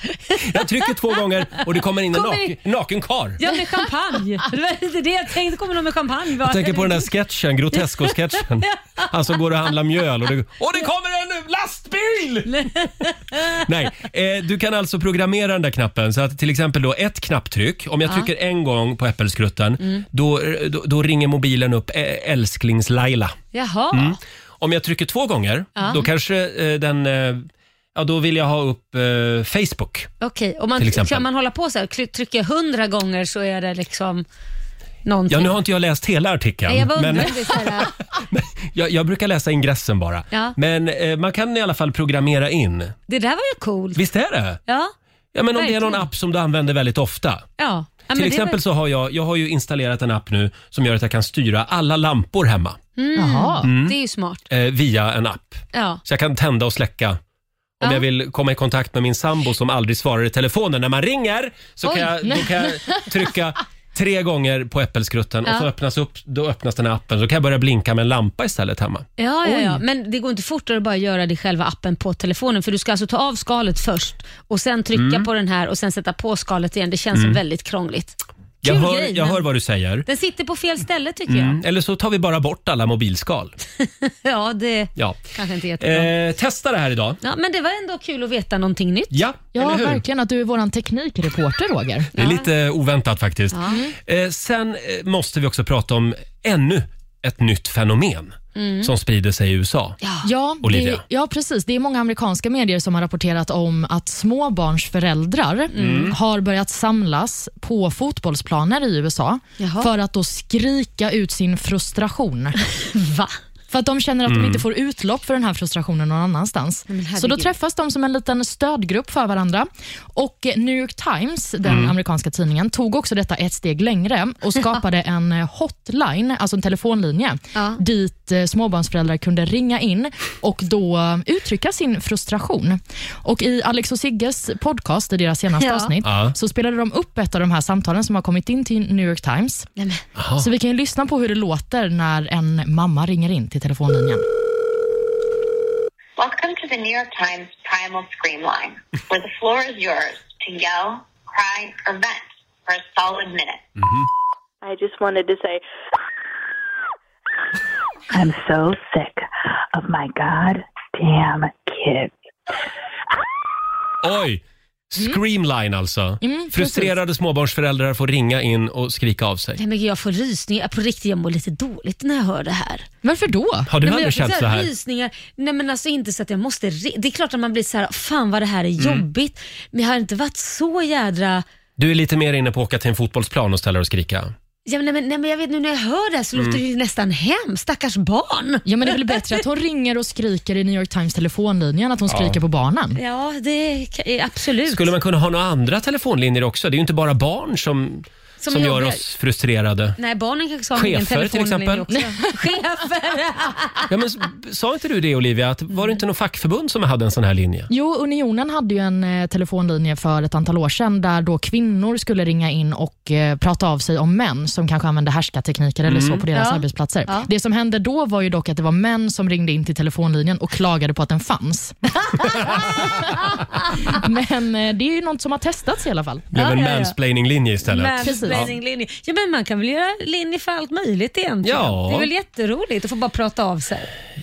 A: Jag trycker två gånger och det kommer in en
C: Kommer
A: naken, naken karl.
C: Ja, med champagne. (laughs) det var inte det jag tänkte. Kommer någon med champagne?
A: Jag tänker på den där sketchen,
C: (laughs)
A: Grotesco-sketchen. Han som går och handlar mjöl och det, och det kommer en lastbil!
C: (laughs)
A: Nej, eh, du kan alltså programmera den där knappen så att till exempel då ett knapptryck, om jag trycker en gång på äppelskrutten,
C: Mm.
A: då, eh, då, då ringer mobilen upp ä- älsklings-Laila.
C: Jaha.
A: Mm. Om jag trycker två gånger, då kanske eh, den, eh, ja då vill jag ha upp eh, Facebook.
C: Okej, och man,
A: Till exempel.
C: kan man hålla på så här? Kli- Trycker jag hundra gånger så är det liksom någonting.
A: Ja, nu har inte jag läst hela artikeln.
C: Nej, jag bara undrar
A: men-
C: om det är så här,
A: (laughs) Jag, jag brukar läsa ingressen bara.
C: Ja.
A: Men eh, man kan i alla fall programmera in.
C: Det där var ju coolt.
A: Visst är det?
C: Ja,
A: Ja, men om det är någon
C: Verkligen.
A: app som du använder väldigt ofta.
C: ja. ja men
A: Till
C: det
A: exempel
C: var-
A: så har jag, jag har ju installerat en app nu som gör att jag kan styra alla lampor hemma
B: Jaha.
C: Mm. Det är ju smart.
A: eh, via en app.
C: Ja.
A: Så jag kan tända och släcka. Om
C: Ja.
A: jag vill komma i kontakt med min sambo som aldrig svarar i telefonen när man ringer så kan
C: Oj.
A: jag, då kan jag trycka tre gånger på äppelskrutten och
C: Ja.
A: så öppnas, upp, då öppnas den här appen. Så kan jag börja blinka med en lampa istället hemma.
C: Ja, ja, ja, men det går inte fortare att bara göra det i själva appen på telefonen för du ska alltså ta av skalet först och sen trycka
A: Mm.
C: på den här och sen sätta på skalet igen. Det känns som väldigt krångligt.
A: Jag,
C: Kul
A: hör,
C: grej,
A: jag
C: men-
A: hör vad du säger.
C: Den sitter på fel ställe tycker
A: Mm, Eller så tar vi bara bort alla mobilskal.
C: jag. Ja, det
A: Ja.
C: kanske inte är jättebra.
A: Eh, testa det här idag.
C: Ja, men det var ändå kul att veta någonting nytt.
A: Ja,
B: Ja,
A: eller hur?
B: verkligen att du är vår teknikreporter, Roger.
A: Det är lite oväntat faktiskt. Eh, sen eh, måste vi också prata om ännu ett nytt fenomen
C: Mm.
A: som sprider sig i USA.
B: Ja,
A: Olivia.
B: det, ja, precis. Det är många amerikanska medier som har rapporterat om att småbarnsföräldrar
A: Mm.
B: har börjat samlas på fotbollsplaner i USA
C: Jaha.
B: för att då skrika ut sin frustration.
C: Va?
B: För att de känner att de inte får utlopp för den här frustrationen någon annanstans.
C: herregud.
B: Så då träffas de som en liten stödgrupp för varandra. Och eh, New York Times, den amerikanska tidningen, tog också detta ett steg längre
C: (laughs)
B: och skapade en eh, hotline, alltså en telefonlinje,
C: Ja.
B: dit eh, småbarnsföräldrar kunde ringa in och då eh, uttrycka sin frustration. Och I Alex och Sigges podcast, i deras senaste
C: Ja.
B: avsnitt,
A: Ja.
B: så spelade de upp ett av de här samtalen som har kommit in till New York Times.
C: Nej, men.
B: Så vi kan ju lyssna på hur det låter när en mamma ringer in till telefonlinjen.
H: Welcome to the New York Times Primal Scream Line, where the floor is yours to yell, cry, or vent for a solid minute.
I: I just wanted to say,
J: I'm so sick of my goddamn kids.
A: Oj!
C: Mm.
A: Screamline alltså.
B: Mm,
A: Frustrerade småbarnsföräldrar får ringa in och skrika av sig.
C: Nej, men gud, jag får rysningar. På riktigt, jag mår lite dåligt när jag hör det här.
B: Varför då?
A: Har du
C: Nej, men
A: aldrig
C: jag
A: känt
C: fick
A: så här?
C: Rysningar. Nej men alltså inte så att jag måste... re- Det är klart att man blir så här, fan vad det här är
A: Mm.
C: jobbigt. Men jag har inte varit så jädra...
A: Du är lite mer inne på att åka till en fotbollsplan och ställa dig och skrika.
C: Ja, men, nej, men, nej, men jag vet nu när jag hör det här så låter
A: Mm.
C: det ju nästan hemskt. Stackars barn.
B: Ja, men det är väl bättre att hon ringer och skriker i New York Times telefonlinje än att hon skriker på barnen.
C: Ja, det kan- eh, absolut.
A: Skulle man kunna ha några andra telefonlinjer också? Det är ju inte bara barn som, som,
C: Som
A: gör
C: jobbar.
A: oss frustrerade.
C: Nej, barnen kanske ska ha en egen
A: Chefer, till
C: telefonlinje också.
A: (laughs)
C: Chefer!
A: Ja, men, s- sa inte du det Olivia, att var det inte något fackförbund som hade en sån här linje?
B: Jo, Unionen hade ju en eh, telefonlinje för ett antal år sedan där då kvinnor skulle ringa in och eh, prata av sig om män som kanske använde härskartekniker eller så på deras
C: Mm. Ja.
B: arbetsplatser. Det som hände då var ju dock att det var män som ringde in till telefonlinjen och klagade på att den
C: (laughs)
B: fanns. Men eh, det är ju något som har testats i alla fall.
A: Det blev
C: Ja,
A: en
C: ja, ja.
A: mansplaining-linje istället.
B: Precis.
C: Mansplaining-linje. Ja, men man kan väl göra linje för allt möjligt egentligen.
A: Ja.
C: Det är väl jätteroligt att få bara prata av sig.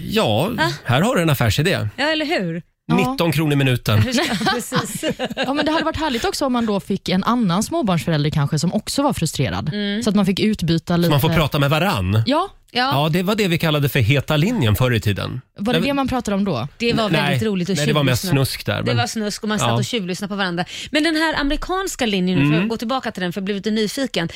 A: Ja, här har du en affärsidé.
C: Ah. Ja, eller
A: (laughs)
C: hur?
B: Ja.
A: 19 kronor minuten.
C: Hur ska- Precis.
B: Ja, men det hade varit härligt också om man då fick en annan småbarnsförälder kanske som också var frustrerad. Så att man fick utbyta lite.
A: Man får prata med varann.
B: Ja,
A: Ja, det var det vi kallade för heta linjen förr i tiden.
B: var det det man pratade om då?
C: Det var
A: Nej,
C: väldigt roligt att
A: Nej, det var mest
C: tjuvlyssna.
A: snusk där.
C: Det
A: Men...
C: var snusk och man satt
A: Ja. Mm.
C: och tjuvlyssnade på varandra. Men den här amerikanska linjen, nu för att gå tillbaka till den för jag blev lite nyfiken.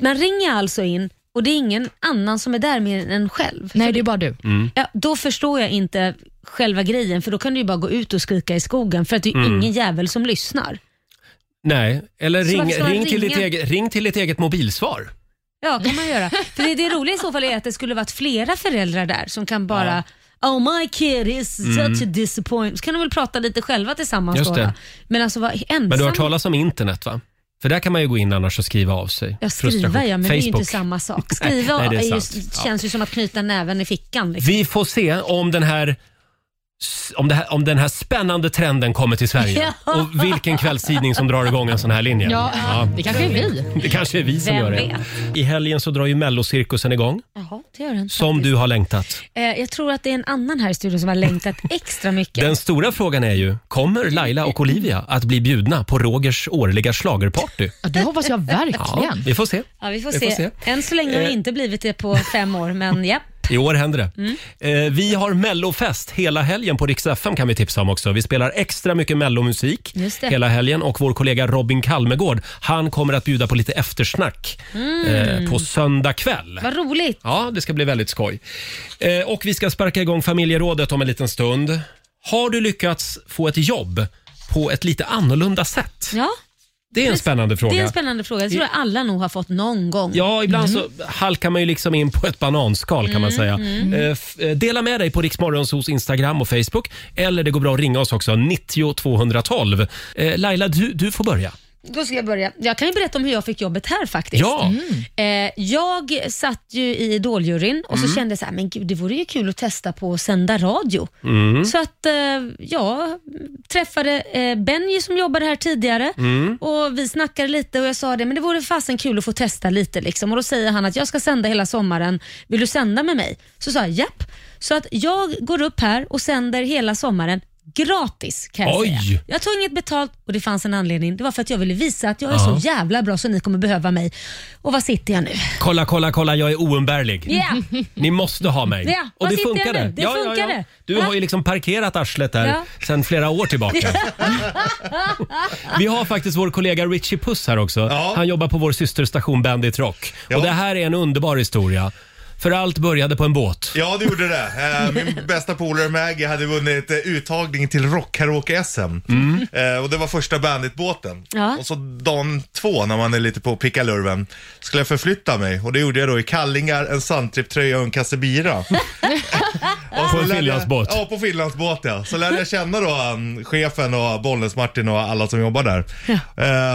C: Man ringer alltså in och det är ingen annan som är där mer än en själv.
B: Nej, det är bara du.
A: Mm.
C: Ja, då förstår jag inte själva grejen för då kan du ju bara gå ut och skrika i skogen för att det är
A: Mm.
C: ingen jävel som lyssnar.
A: Nej, eller
C: Så
A: ring,
C: varför ska man
A: ring, till ditt
C: ringa?
A: eget, ring till ditt eget mobilsvar.
C: Ja, kan
B: (laughs)
C: man göra. För det, det roliga i så fall är att det skulle varit flera föräldrar där som kan bara Oh my kid is such a disappointment. Så kan de väl prata lite själva tillsammans
A: Mm. Just
C: då,
A: det.
C: då. Men alltså vara ensam.
A: Men du har hört talas om internet va? För där kan man ju gå in annars och skriva av sig.
C: Ja, skriva
A: Frustration.
C: ja, men det är ju
A: Facebook.
C: inte samma sak.
A: (laughs)
C: Skriva
A: nej, det är
C: är ju-
A: sant. Ja.
C: känns ju som att knyta näven i fickan. Liksom.
A: Vi får se om den här om, det här, om den här spännande trenden kommer till
C: (laughs)
A: Sverige och vilken kvällstidning som drar igång en sån här linje.
B: Ja, det kanske är vi.
A: (laughs) Det kanske är vi som
C: Vem
A: gör det.
C: vet?
A: I helgen så drar ju Mellocirkusen igång,
C: Jaha, det gör den
A: som
C: faktiskt.
A: du har längtat.
C: Eh, jag tror att det är en annan här i studion som
A: (laughs)
C: har längtat extra mycket.
A: Den stora frågan är ju, kommer Laila och Olivia att bli bjudna på Rogers årliga schlagerparty?
B: Ja, det hoppas jag
A: Ja,
B: verkligen.
A: vi får se.
C: Ja, vi får,
A: Vi
C: se.
A: får se. Eh.
C: Än så länge har det inte blivit det på fem år, men ja.
A: I år händer det.
C: Mm.
A: Eh, vi har mellofest hela helgen på Rix FM kan vi tipsa om också. Vi spelar extra mycket mellomusik
C: Just det.
A: hela helgen och vår kollega Robin Kalmegård, han kommer att bjuda på lite eftersnack
C: Mm.
A: eh, på söndag kväll.
C: Vad roligt.
A: Ja, det ska bli väldigt skoj. Eh, och vi ska sparka igång familjerådet om en liten stund. Har du lyckats få ett jobb på ett lite annorlunda sätt?
C: Ja,
A: Det är en spännande fråga.
C: det är en spännande Mm. fråga. Jag tror att alla nog har fått någon gång.
A: Ja, ibland så halkar man ju liksom in på ett bananskal kan
C: Mm,
A: man säga. Eh, f- eh, dela med dig på Riksmorgonsos Instagram och Facebook. Eller det går bra att ringa oss också, 90 212. Eh, Laila, du, du får börja.
C: Då ska jag börja. Jag kan ju berätta om hur jag fick jobbet här faktiskt.
A: Ja,
C: Eh, jag satt ju i Idoljuryn och så kände jag så här, men gud det vore ju kul att testa på att sända radio. Så att eh, jag träffade eh, Benny som jobbade här tidigare och vi snackade lite och jag sa det, men det vore fasen kul att få testa lite liksom. Och då säger han att jag ska sända hela sommaren, vill du sända med mig? Så sa jag japp. Så att jag går upp här och sänder hela sommaren gratis kan jag
A: Oj.
C: säga. Jag tog inget betalt och det fanns en anledning. Det var för att jag ville visa att jag är
A: Ja.
C: så jävla bra så ni kommer behöva mig. Och var sitter jag nu?
A: kolla, kolla, kolla, jag är oumbärlig.
C: (laughs) Ja,
A: Ni måste ha mig.
C: Ja,
A: och
C: vad
A: det
C: sitter jag
A: funkade.
C: nu? Det funkade.
A: Du har ju liksom parkerat arslet där
C: Ja.
A: sedan flera år
C: (laughs)
A: tillbaka. Vi har faktiskt vår kollega Richie Puss här också.
G: Ja.
A: Han jobbar på vår systerstation Bandit Rock.
G: Ja.
A: Och det här är en underbar historia. För allt började på en båt.
G: Ja, det gjorde det. Eh, Min bästa polare Maggie hade vunnit eh, uttagning till rockkaraoke-SM. Eh, Och det var första banditbåten.
C: Ja.
G: Och så dagen två, när man är lite på pickalurven, skulle jag förflytta mig. Och det gjorde jag då i kallingar, en sandtripptröja och en kassebira.
A: På en Finlandsbåt.
G: Ja, på Finlandsbåt ja. Så lärde jag känna då um, chefen och Bollnäs-Martin och alla som jobbar där.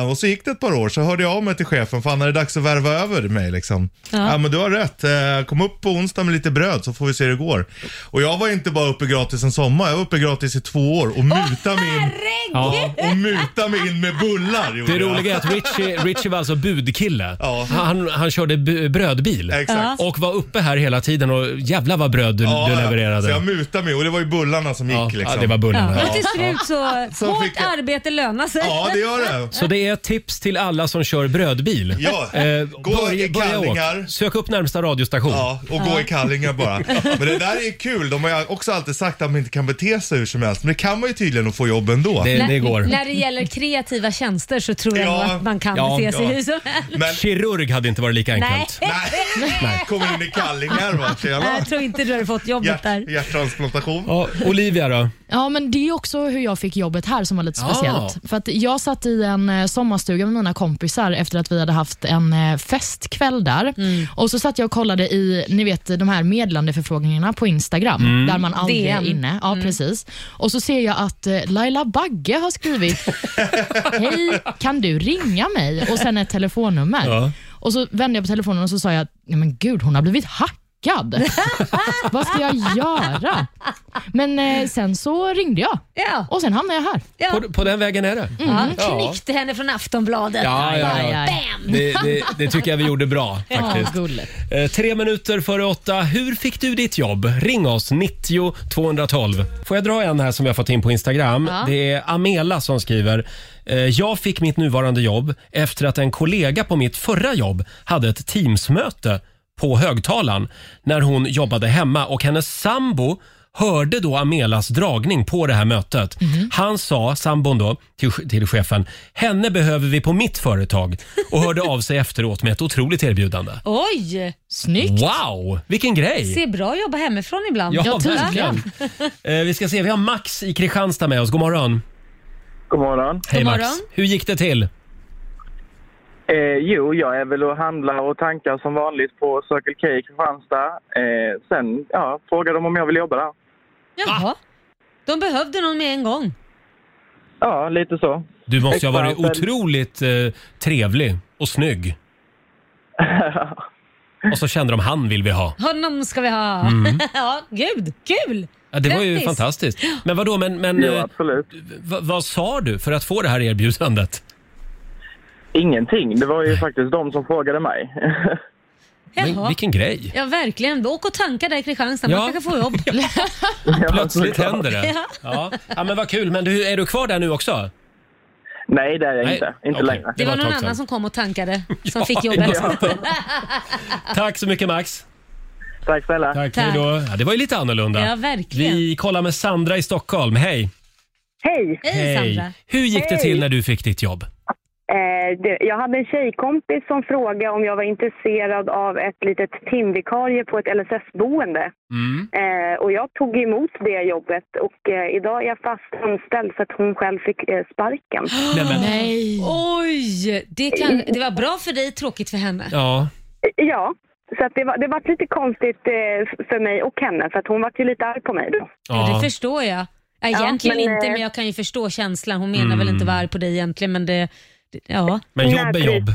G: Eh, och så gick det ett par år, så hörde jag av mig till chefen, fan är det dags att värva över mig liksom? Ja, men du har rätt. Eh, kom upp på onsdag med lite bröd så får vi se hur det går. Och jag var inte bara uppe gratis en sommar, jag var uppe gratis i två år och muta mig in,
A: Ja.
G: och muta mig in med bullar. gjorde
A: Det
G: jag.
A: roliga är att Richie, Richie var alltså budkille.
G: Ja.
A: Han, han körde bu- brödbil.
G: Exakt.
A: Och var uppe här hela tiden och jävla vad bröd du,
G: Ja,
A: du
G: ja.
A: levererade.
G: Så jag mutade mig och det var ju bullarna som
A: ja,
G: gick liksom.
A: ja, det var bullarna.
C: Och till slut
A: (laughs)
C: så,
G: Så
C: hårt
G: fick jag-
C: arbete lönar sig.
G: Ja, det gör det.
A: Så det är ett tips till alla som kör brödbil.
G: Ja.
A: Eh,
G: Gå i kallingar.
A: Sök upp närmsta radiostation.
G: Ja, och gå i
C: (laughs)
G: kallingar bara. Men det där är kul. De har ju också alltid sagt att man inte kan bete sig hur som helst. Men det kan man ju tydligen att få jobb ändå.
A: Det- det går.
C: (laughs) När det gäller kreativa tjänster så tror jag
G: Ja.
C: nog att man kan
A: Ja,
C: bete sig
A: ja.
C: hur som (laughs) helst.
A: Kirurg hade inte varit lika
C: Nej.
A: enkelt.
C: Nej.
G: Kommer in i kallingar va? Tjena.
C: Jag tror inte du har fått jobbet
G: Hjärt,
C: där.
G: hjärttransplantation.
A: Ja, Olivia då?
B: Ja, men det är ju också hur jag fick jobbet här som var lite
A: Ja.
B: speciellt. För att jag satt i en eh, sommarstuga med mina kompisar efter att vi hade haft en eh, festkväll där. Och så satt jag och kollade i ni vet, de här meddelandeförfrågningarna på Instagram,
K: Mm.
B: där man aldrig
K: DM.
B: är inne. Ja, precis. Och så ser jag att eh, Laila Bagge har skrivit Hej, kan du ringa mig? Och sen ett telefonnummer.
A: Ja.
B: Och så vände jag på telefonen och så sa jag, "Nej, men gud, hon har blivit hackad. (laughs) Vad ska jag göra? Men eh, sen så ringde jag och sen hamnade jag här.
A: På, på den vägen är det.
C: Ja, knyckte henne från Aftonbladet.
A: Ja, ja, ja.
C: Bam!
A: Det, det, det tycker jag vi gjorde bra
C: Ja,
A: faktiskt. Eh, tre minuter före åtta. Hur fick du ditt jobb? Ring oss, 90 212. Får jag dra en här som vi har fått in på Instagram?
L: Ja.
A: Det är Amela som skriver. Eh, jag fick mitt nuvarande jobb efter att en kollega på mitt förra jobb hade ett Teamsmöte på högtalaren när hon jobbade hemma och hennes sambo hörde då Amelas dragning på det här mötet. Han sa, sambon då, till, till chefen, henne behöver vi på mitt företag och hörde av sig efteråt med ett otroligt erbjudande.
C: Oj!
B: Snyggt!
A: Wow, vilken grej!
C: Ser bra att jobba hemifrån ibland.
A: Ja,
C: (laughs)
A: verkligen. Eh, vi ska se, vi har Max i Kristianstad med oss. God morgon.
E: God morgon.
A: Hej
E: God
A: Max.
E: morgon.
A: Hur gick det till?
E: Eh, jo, jag är väl och handlar och tankar som vanligt på Circle K i Kristianstad. Eh, sen ja, frågade de om jag vill jobba där.
C: Jaha. De behövde någon med en gång.
E: Ja, lite så. (laughs)
A: Du måste ju ha varit
E: Expansen.
A: otroligt eh, trevlig och snygg. och så kände de, han vill vi ha.
C: Honom ska vi ha.
A: Mm.
C: (laughs) ja, gud, kul!
A: Ja, det var ju
C: Grattis.
A: fantastiskt. Men vadå, men, men
E: Jo,
A: eh,
E: absolut.
A: v- vad sa du för att få det här erbjudandet?
E: Ingenting. Det var ju faktiskt de som frågade mig. (laughs)
C: Jaha.
A: vilken grej.
C: Ja, verkligen. Åk och tanka där i Kristianstad. Man
A: (laughs) Ja.
C: kanske får jobb.
A: Plötsligt händer det.
C: Ja.
A: Ja. ja, men vad kul. Men du, är du kvar där nu också?
E: Nej, det är jag
A: Nej,
E: inte. Inte
A: okej.
E: längre.
C: Det var
A: ett
C: någon
A: tag sedan.
C: annan som kom och tankade,
A: (laughs)
C: som
A: Ja,
C: fick jobbet.
A: ja. (laughs)
E: (laughs)
A: Tack så mycket Max.
E: Tack snälla.
A: Tack,
C: Tack.
A: Hej då. Ja, det var ju lite annorlunda.
C: Ja, verkligen.
A: Vi kollar med Sandra i Stockholm. Hej!
M: Hej!
A: Hur gick det
M: Hej.
A: till när du fick ditt jobb?
M: Eh, det, jag hade en tjejkompis som frågade om jag var intresserad av ett litet timvikarie på ett LSS-boende.
A: Mm.
M: Eh, och jag tog emot det jobbet och eh, idag är jag fast anställd så att hon själv fick eh, sparken.
A: Mm.
C: Nej. (gasps) Oj! Det, kan, det var bra för dig, tråkigt för henne.
A: Ja.
M: Eh, Ja, så att det, var, det var lite konstigt eh, f- för mig och henne för att hon var ju lite arg på mig då.
C: Ja. Det förstår jag. Ja,
M: Ja,
C: Egentligen
M: men,
C: inte,
M: eh,
C: men jag kan ju förstå känslan. Hon menar
A: Mm.
C: väl inte vara arg på dig egentligen, men det... det- Ja.
A: Men jobb är jobb.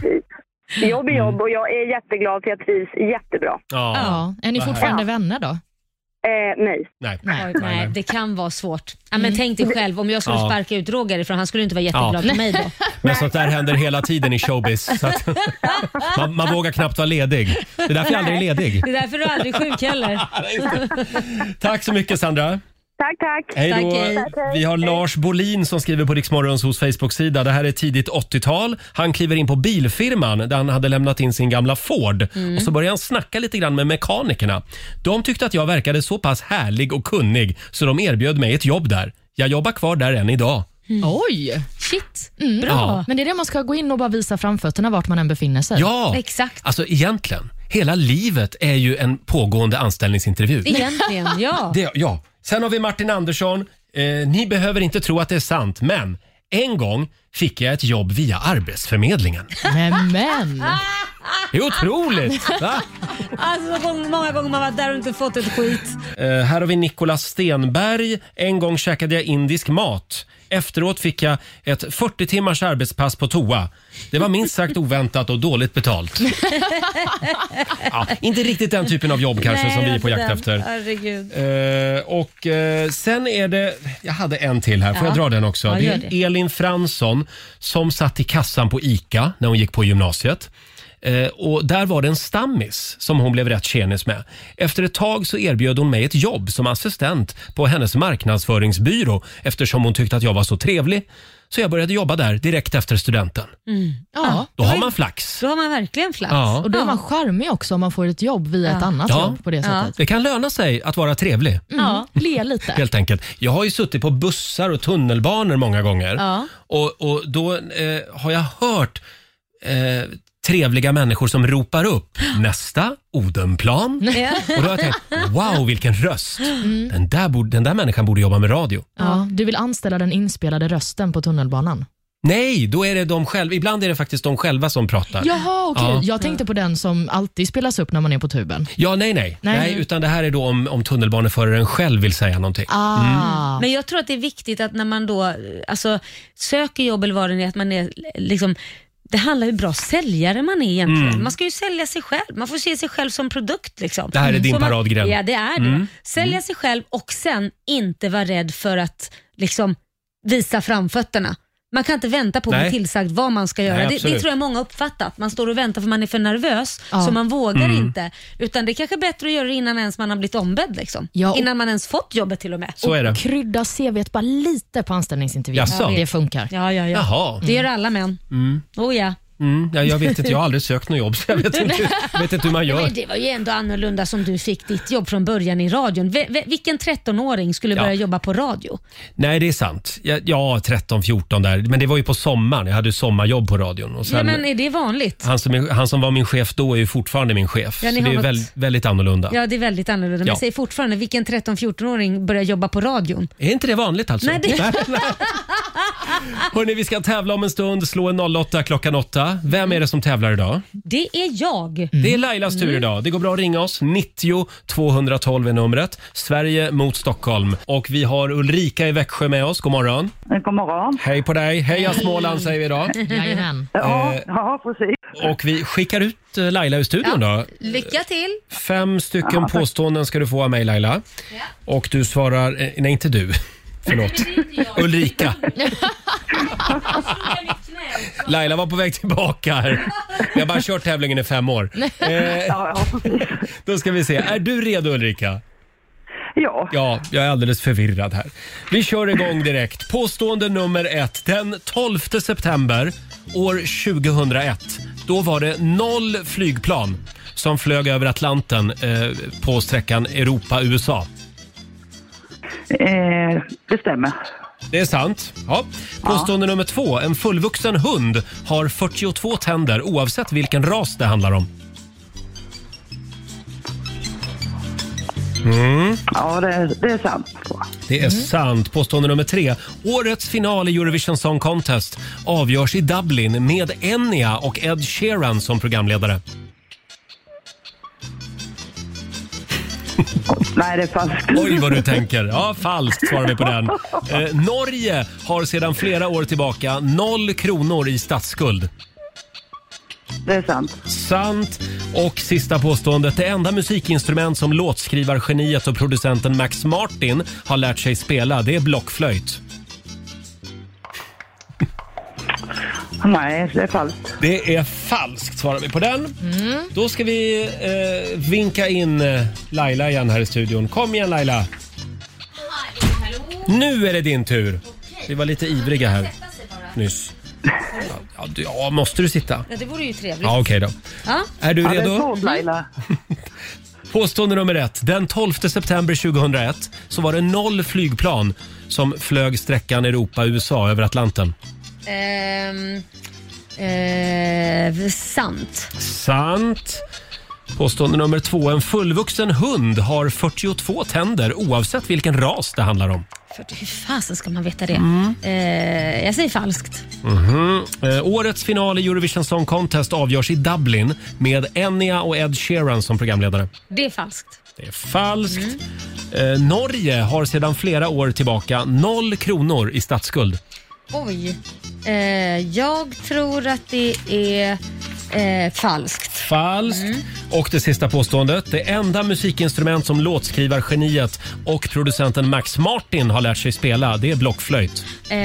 M: Jobb är jobb och jag är jätteglad för jag trivs jättebra.
A: Ja.
B: Är ni
A: Vad
B: fortfarande
A: härligt.
B: vänner då?
M: Eh, nej.
A: Nej.
C: Nej, nej, Mm. det kan vara svårt. Ja, men tänk dig själv om jag skulle
A: Ja.
C: sparka ut Roger ifrån, han skulle inte vara jätteglad
A: Ja.
C: för
A: (laughs)
C: mig då.
A: Men sånt där händer hela tiden i showbiz. Så att man, man vågar knappt vara ledig. Det är därför jag aldrig är
C: (laughs)
A: ledig.
C: Det är därför du aldrig är sjuk heller.
A: Tack så mycket Sandra.
M: Tack, tack.
A: Hej då.
M: Tack, hej.
A: Vi har Lars Bolin som skriver på Riksmorgons hos Facebook-sida. Det här är tidigt 80-tal. Han kliver in på bilfirman där han hade lämnat in sin gamla Ford.
L: Mm.
A: Och så börjar han snacka lite grann med mekanikerna. De tyckte att jag verkade så pass härlig och kunnig så de erbjöd mig ett jobb där. Jag jobbar kvar där än idag.
B: Mm. Oj!
C: Shit,
A: bra. Ja.
B: Men det är det man ska gå in och bara visa framfötterna vart man än befinner sig.
A: Ja,
C: (laughs)
A: Alltså egentligen, hela livet är ju en pågående anställningsintervju.
C: Egentligen, ja.
A: Det, ja. Sen har vi Martin Andersson. Eh, ni behöver inte tro att det är sant, men en gång fick jag ett jobb via Arbetsförmedlingen.
B: Men, men.
A: Det är otroligt! Va?
C: Alltså vad gång- många gånger man varit där och inte fått ett skit.
A: Eh, här har vi Nicolas Stenberg. En gång käkade jag indisk mat. Efteråt fick jag ett 40 timmars arbetspass på toa. Det var minst sagt oväntat och dåligt
C: (laughs)
A: betalt. Ja, inte riktigt den typen av jobb kanske
C: Nej,
A: som vi
C: det
A: är
C: var
A: på jakt
C: den.
A: efter.
C: Herregud.
A: Eh, och eh, sen är det, jag hade en till här, får
C: Ja.
A: jag dra den också?
C: Ja,
A: det
C: gör
A: är Elin Fransson som satt i kassan på ICA när hon gick på gymnasiet. Eh, och där var det en stammis som hon blev rätt tjenis med. Efter ett tag så erbjöd hon mig ett jobb som assistent på hennes marknadsföringsbyrå eftersom hon tyckte att jag var så trevlig. Så jag började jobba där direkt efter studenten.
C: Mm.
B: Ja.
A: Då har man flax.
C: Då har man verkligen flax.
A: Ja.
B: Och då är man charmig också om man får ett jobb via ett annat jobb på det sättet.
A: Det kan löna sig att vara trevlig.
B: Mm. Le lite.
A: Helt enkelt. Jag har ju suttit på bussar och tunnelbanor många gånger. (laughs)
B: Ja.
A: Och, och då eh, har jag hört eh, trevliga människor som ropar upp nästa Odenplan.
B: Ja.
A: Och då har jag tänkt, wow vilken röst.
B: Mm.
A: Den, där borde, den där människan borde jobba med radio.
B: Ja, du vill anställa den inspelade rösten på tunnelbanan?
A: Nej, då är det de själva. Ibland är det faktiskt de själva som pratar.
B: Jaha, okej.
A: Ja.
B: Jag tänkte på den som alltid spelas upp när man är på tuben.
A: Ja, nej, nej, nej.
B: Nej.
A: utan det här är då om, om tunnelbaneföraren själv vill säga någonting. Mm.
C: Men jag tror att det är viktigt att när man då eh, alltså, söker jobb eller vad det är, att man är eh, liksom det handlar ju hur bra säljare man är egentligen.
A: Mm.
C: Man ska ju sälja sig själv. Man får se sig själv som produkt. Liksom.
A: Det här är din
C: Så man-
A: paradgren.
C: Ja, det är det.
A: Mm.
C: Sälja sig själv och sen inte vara rädd för att liksom, visa framfötterna. Man kan inte vänta på att
A: Nej.
C: bli tillsagd vad man ska göra.
A: Nej,
C: det, det
A: absolut.
C: tror jag många uppfattat. Man står och väntar för man är för nervös,
B: Ja.
C: så man vågar
A: Mm.
C: inte. Utan det är kanske är bättre att göra det innan ens man har blivit ombedd. Liksom.
B: Ja, och-
C: Innan man ens fått jobbet till och med.
A: Så är det.
B: Krydda CVt bara lite på anställningsintervjun.
A: Jaså?
B: Det funkar.
C: Ja, ja, ja.
A: Jaha.
C: Det gör alla män.
A: Mm.
C: Oh ja.
A: Mm. Ja, jag vet inte, jag har aldrig sökt något jobb så jag vet inte, vet inte hur man gör.
C: Men det var ju ändå annorlunda som du fick ditt jobb från början i radion. V- v- vilken 13-åring skulle
A: Ja.
C: börja jobba på radio?
A: Nej, det är sant. Ja, ja 13, 14 där. Men det var ju på sommaren. Jag hade ju sommarjobb på radion. Och sen,
C: ja, men är det vanligt?
A: han, som, är- han som var min chef då är ju fortfarande min chef.
C: Ja, ni
A: så det
C: har
A: är
C: något-
A: väldigt, väldigt annorlunda.
C: Ja, det är väldigt annorlunda. Men
A: Ja.
C: jag säger fortfarande, vilken 13-14-åring börjar jobba på radion?
A: Är inte det vanligt alltså?
C: Nej, det-
A: (laughs) Hörrni, vi ska tävla om en stund. Slå en 08 klockan 8. Vem är det som tävlar idag?
C: Det är jag.
A: Det är Lailas tur idag. Det går bra att ringa oss. 90 212 är numret. Sverige mot Stockholm. Och vi har Ulrika i Växjö med oss. God morgon.
N: God morgon.
A: Hej på dig. Heja Småland säger vi
C: (laughs)
A: idag.
B: Jajamän.
N: Ja,
A: Eh,
N: ja, precis.
A: Och vi skickar ut eh, Laila ur studion då.
C: Lycka till!
A: Fem stycken
N: Ja, tack.
A: påståenden ska du få av mig Laila. Och du svarar, eh, nej inte du.
N: (laughs)
A: Förlåt. Ulrika. Laila var på väg tillbaka här. Vi har bara kört tävlingen i fem år.
N: (laughs)
A: Eh,
N: Ja,
A: (laughs) Då ska vi se. Är du redo Ulrika?
N: Ja.
A: Ja, jag är alldeles förvirrad här. Vi kör igång direkt. Påstående nummer ett. Den 12 september år 2001, då var det noll flygplan som flög över Atlanten eh, på sträckan Europa-USA.
N: eh, det stämmer.
A: Det är sant. Ja. Påstående nummer två. En fullvuxen hund har 42 tänder oavsett vilken ras det handlar om. Mm.
N: Ja, det, det är sant.
A: Det är sant. Påstående nummer tre. Årets final i Eurovision Song Contest avgörs i Dublin med Enya och Ed Sheeran som programledare.
N: Nej, det är falskt.
A: Oj, vad du tänker. Ja, falskt svarar vi på den. Eh, Norge har sedan flera år tillbaka noll kronor i statsskuld.
N: Det är sant.
A: Sant. Och sista påståendet. Det enda musikinstrument som låtskrivargeniet och producenten Max Martin har lärt sig spela, det är blockflöjt.
N: Nej, det är falskt.
A: Det är falskt, svarar vi på den. Då ska vi eh, vinka in eh, Laila igen här i studion. Kom igen Laila! Nu är det din tur. Vi var lite ivriga här nyss. Ja, du- ja, måste du sitta?
C: Ja, det vore ju trevligt.
A: Ja, okej då.
C: Ja.
A: Är du
N: ja,
A: redo?
N: Det är svårt, Laila.
A: Påstående nummer ett. Den 12 september 2001 så var det noll flygplan som flög sträckan Europa-USA över Atlanten.
C: Ehm, eh, sant.
A: Sant. Påstående nummer två. En fullvuxen hund har 42 tänder oavsett vilken ras det handlar om.
C: För, hur fasen ska man veta det?
A: Mm.
C: Eh, jag säger falskt.
A: Mhm. Eh, årets final i Eurovision Song Contest avgörs i Dublin med Enya och Ed Sheeran som programledare.
C: Det är falskt.
A: Det är falskt. Eh, Norge har sedan flera år tillbaka noll kronor i statsskuld.
C: Oj. Eh, jag tror att det är eh, falskt.
A: Falskt. Och det sista påståendet. Det enda musikinstrument som låtskrivargeniet och producenten Max Martin har lärt sig spela, det är blockflöjt.
C: Eh,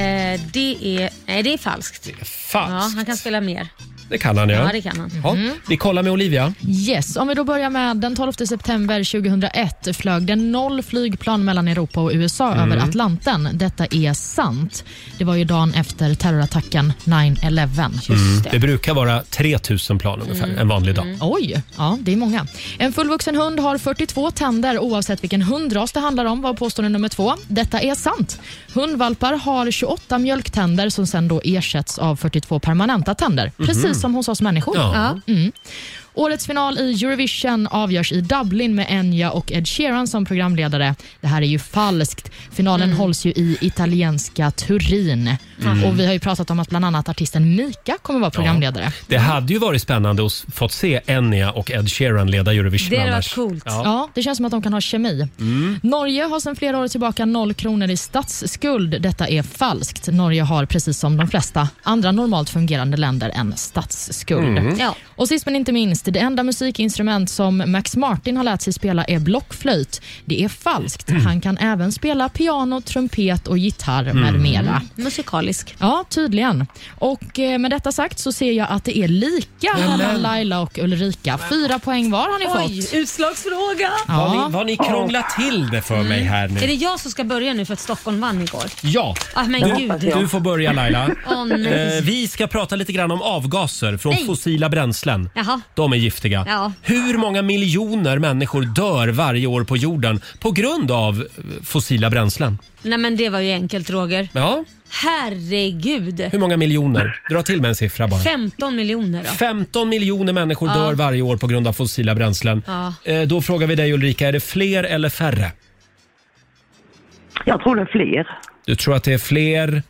C: det, är, nej, det är falskt.
A: Falskt.
C: Ja, han kan spela mer.
A: Det kan han, ja.
B: Ja, det kan han.
A: Ja. Vi kollar med Olivia.
B: Yes, om vi då börjar med den 12 september 2001 flög det noll flygplan mellan Europa och USA
A: Mm.
B: över Atlanten. Detta är sant. Det var ju dagen efter terrorattacken 9-11.
A: Mm. Det brukar vara 3000 plan ungefär,
B: Mm.
A: en vanlig dag.
B: Oj, ja det är många. En fullvuxen hund har 42 tänder oavsett vilken hundras det handlar om var påstående nummer två. Detta är sant. Hundvalpar har 28 mjölktänder som sen då ersätts av 42 permanenta tänder.
O: Mhm.
B: Precis som hos oss människor.
O: Ja.
B: Mm. Årets final i Eurovision avgörs i Dublin med Enya och Ed Sheeran som programledare. Det här är ju falskt. Finalen
O: Mm.
B: hålls ju i italienska Turin.
A: Mm.
B: Och Vi har ju pratat om att bland annat artisten Mika kommer vara programledare.
A: Det hade ju varit spännande att s- fått se Enya och Ed Sheeran leda Eurovision annars.
B: Ja.
A: Ja.
B: det känns som att de kan ha kemi.
A: Mm.
B: Norge har sedan flera år tillbaka noll kronor i statsskuld. Detta är falskt. Norge har precis som de flesta andra normalt fungerande länder en statsskuld.
O: Mm. Ja.
B: Och sist men inte minst, det enda musikinstrument som Max Martin har lärt sig spela är blockflöjt. Det är falskt. Han kan även spela piano, trumpet och gitarr med
O: Mm.
B: mera.
O: Mm.
B: Musikalisk. Ja, tydligen. Och eh, med detta sagt så ser jag att det är lika mellan Laila och Ulrika. Fyra poäng var har ni
O: Oj,
B: fått.
O: utslagsfråga!
A: Har, ni, har ni krånglat till det för mig här
O: Är det
A: nu?
O: jag som ska börja nu för att Stockholm vann igår?
A: Ja,
O: Ah, men
A: du,
O: gud.
A: du får börja Laila.
O: Åh, nej.
A: Eh, vi ska prata lite grann om avgaser från
O: Nej.
A: fossila bränslen.
O: Jaha.
A: De är giftiga.
O: Ja.
A: Hur många miljoner människor dör varje år på jorden på grund av eh, fossila bränslen?
O: Nej men det var ju enkelt Roger.
A: Ja,
O: Herregud.
A: hur många miljoner? Dra till med en siffra bara.
O: 15 miljoner då.
A: 15 miljoner människor
O: Ja.
A: dör varje år på grund av fossila bränslen.
O: Ja.
A: Eh, Då frågar vi dig Ulrika, är det fler eller färre?
N: Jag tror det är fler.
A: Du tror att det är fler?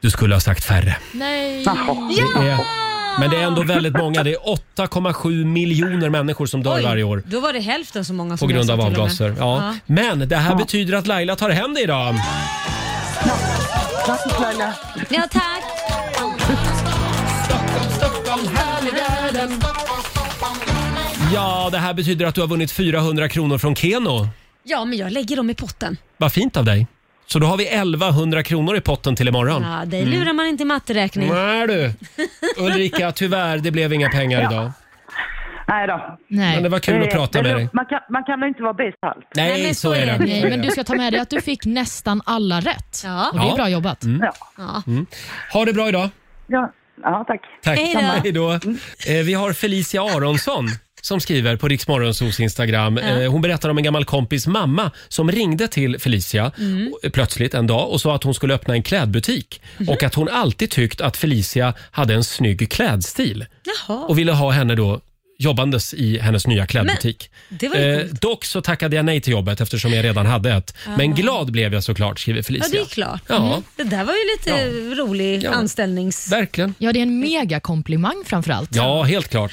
A: Du skulle ha sagt färre.
B: Nej.
A: Det är, men det är ändå väldigt många. Det är 8,7 miljoner människor som dör
O: Oj,
A: varje år
O: Då var det hälften så många
A: på
O: som jag
A: grund
O: sa
A: av
O: till och med.
A: avgaser. Ja. Men det här betyder att Laila tar hem det idag.
N: Grattis Laila!
O: Ja tack.
A: Ja, det här betyder att du har vunnit 400 kronor från Keno.
O: Ja men jag lägger dem i potten.
A: Vad fint av dig. Så då har vi 1100 kronor i potten till imorgon.
O: Ja, dig
A: Mm.
O: lurar man inte i matteräkning.
A: Nej du. Ulrika, tyvärr, det blev inga pengar
N: Ja.
A: idag.
N: Nej då.
A: Men det var kul att prata med dig.
N: Man kan, man kan väl inte vara bäst på allt?
A: Nej, Nej, men så så är är det. det.
B: Nej, men du ska ta med dig att du fick nästan alla rätt. Och det är
A: Ja.
B: bra jobbat.
A: Mm. Mm. Ha det bra idag.
N: Ja, ja tack.
A: Tack.
B: Hej då.
A: Hej då. Eh, vi har Felicia Aronsson som skriver på Riksmorgonsos Instagram.
D: Ja.
A: Eh, hon berättar om en gammal kompis mamma som ringde till Felicia
D: Mm.
A: eh, plötsligt en dag och sa att hon skulle öppna en klädbutik och att hon alltid tyckt att Felicia hade en snygg klädstil
O: Jaha.
A: och ville ha henne då jobbandes i hennes nya klädbutik.
O: Men, det var
A: eh,
O: ju coolt.
A: dock så tackade jag nej till jobbet eftersom jag redan hade ett. Men
O: Ah.
A: glad blev jag såklart, skriver
O: Ja,
A: Felicia.
O: det är klart.
A: Ja.
O: Mm. Det där var ju lite rolig
A: Ja.
O: anställnings...
A: Verkligen.
B: Ja, det är en megakomplimang framförallt.
A: Ja, helt klart.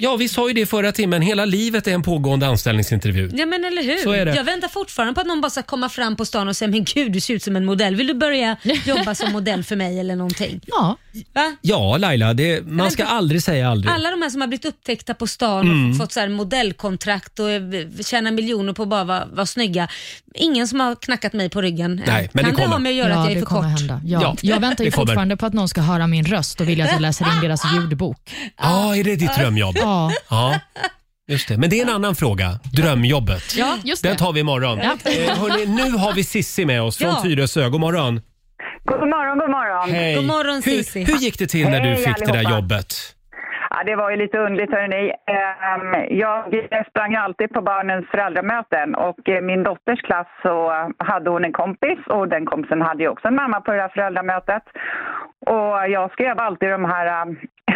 A: Ja, vi sa ju det förra timmen. Hela livet är en pågående anställningsintervju.
O: Ja men eller hur.
A: Så är det.
O: Jag väntar fortfarande på att någon bara ska komma fram på stan och säga men gud du ser ut som en modell. Vill du
A: (laughs)
O: börja jobba som modell för mig eller någonting?
B: Ja.
O: Va?
A: Ja, Laila, det, man ska aldrig säga aldrig.
O: Alla de här som har blivit upptäckta på stan
A: Mm.
O: och fått så här modellkontrakt och eh, tjänar miljoner på att bara vara, vara snygga. Ingen som har knackat mig på ryggen än.
A: Nej, men det
O: Kan det,
A: kommer.
O: ha med att göra
A: Ja,
O: att jag är
A: det
O: för
A: kommer
O: kort?
A: hända. Ja. Ja,
B: Jag väntar ju
A: det kommer.
B: fortfarande på att någon ska höra min röst och vilja att jag läser in deras
O: (laughs)
B: ljudbok.
A: Ja, är det ditt drömjobb?
B: Ja.
A: ja. Just det. Men det är en annan fråga. Drömjobbet.
B: Ja, just
A: Den
B: det.
A: tar vi imorgon.
B: Ja.
A: Eh, hörni, nu har vi Sissi med oss från
E: Ja.
A: Tyresö. God morgon.
E: God morgon, god morgon.
A: Hej. hur, hur gick det till när du
E: Hej,
A: fick det där
E: allihopa.
A: jobbet?
E: Ja, det var ju lite underligt hörni. Ehm, Jag sprang alltid på barnens föräldramöten och eh, min dotters klass så hade hon en kompis och den kompisen hade ju också en mamma på det här föräldramötet. Och jag skrev alltid de här eh,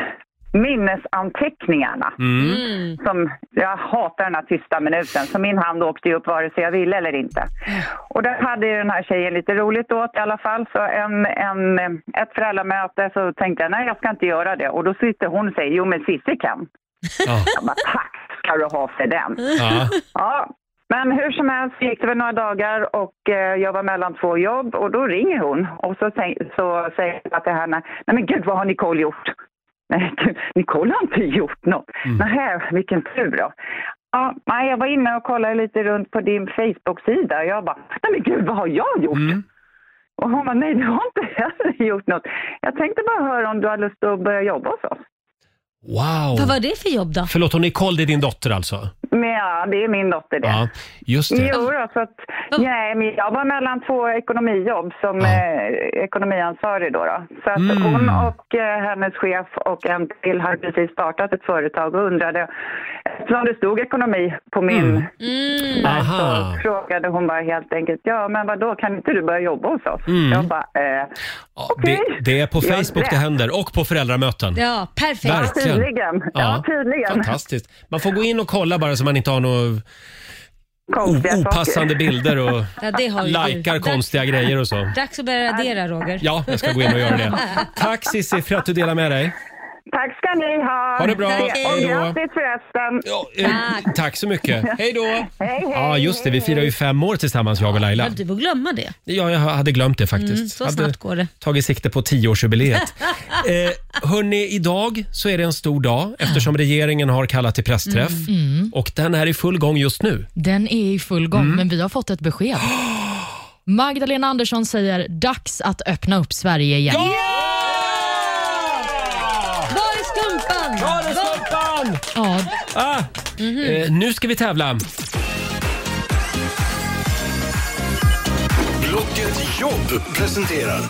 E: (laughs) minnesanteckningarna.
D: Mm.
E: Som, jag hatar den här tysta minuten, så min hand åkte ju upp vare sig jag ville eller inte. Och där hade ju den här tjejen lite roligt åt i alla fall. Så en, en, ett föräldramöte så tänkte jag, nej jag ska inte göra det. Och då sitter hon och säger, jo men Cissi kan. Jag bara, tack ska du ha för den.
D: Ja.
E: Ja, men hur som helst gick det väl några dagar och eh, jag var mellan två jobb och då ringer hon och så, tänk, så säger jag till henne, nej men gud vad har Nicole gjort? (laughs) Nej, gud, Nicole har inte gjort något. Nähä, vilken tur då. Ja, nej, jag var
A: Mm.
E: inne och kollade lite runt på din Facebook-sida och jag bara, nej men gud vad har jag gjort? Och hon bara, nej du har inte (laughs) heller gjort något. Jag tänkte bara höra om du har lust att börja jobba hos oss.
A: Wow!
C: Vad var det för jobb då?
A: Förlåt, och Nicole, det är din dotter alltså?
E: Men ja, det är min dotter det.
A: Ja, just det.
E: Jo då, så att, nej, men jag var mellan två ekonomijobb som eh, ekonomiansvarig då. då. Så att
A: Mm.
E: hon och eh, hennes chef och en till hade precis startat ett företag och undrade, eftersom det stod ekonomi på min
A: Mm.
O: Mm.
E: där,
A: Aha.
E: så frågade hon bara helt enkelt, ja men vadå, kan inte du börja jobba hos oss?
A: Mm.
E: Jag bara, eh, okej.
A: Det, det är på
E: Jag
A: Facebook det
E: vet.
A: händer och på föräldramöten.
C: Ja, perfekt.
A: Verkligen.
E: Tydligen. Ja, tydligen.
A: Fantastiskt. Man får gå in och kolla bara så man inte har några
E: Konstiga saker.
A: opassande bilder och
C: Ja, det har ju du.
A: likar konstiga grejer och så.
C: Dags att börja radera Roger.
A: Ja, jag ska gå in och göra det. Tack Cissi för att du delar med dig.
E: Tack ska ni ha.
A: Ha det bra.
E: Och
A: Hej då.
E: grattis förresten.
A: Eh, Tack så mycket. Hej då. Hej,
E: hej.
A: Ja, just det. Vi firar ju fem år tillsammans, jag och Laila.
C: Du får glömma det.
A: Ja, jag hade glömt det faktiskt.
C: Mm, så
A: hade
C: snabbt går det.
A: tagit sikte på
C: (laughs)
A: tioårsjubileet. eh, hörni, idag så är det en stor dag eftersom regeringen har kallat till pressträff.
C: Mm,
A: Och den är i full gång just nu.
B: Den är i full gång,
A: Mm.
B: men vi har fått
A: (gasps)
B: ett besked. Magdalena Andersson säger dags att öppna upp Sverige igen.
C: Var är skumpan? Var är
A: skumpan?
B: Ja.
A: Ah, eh, nu ska vi tävla.
D: Blocket jobb presenterar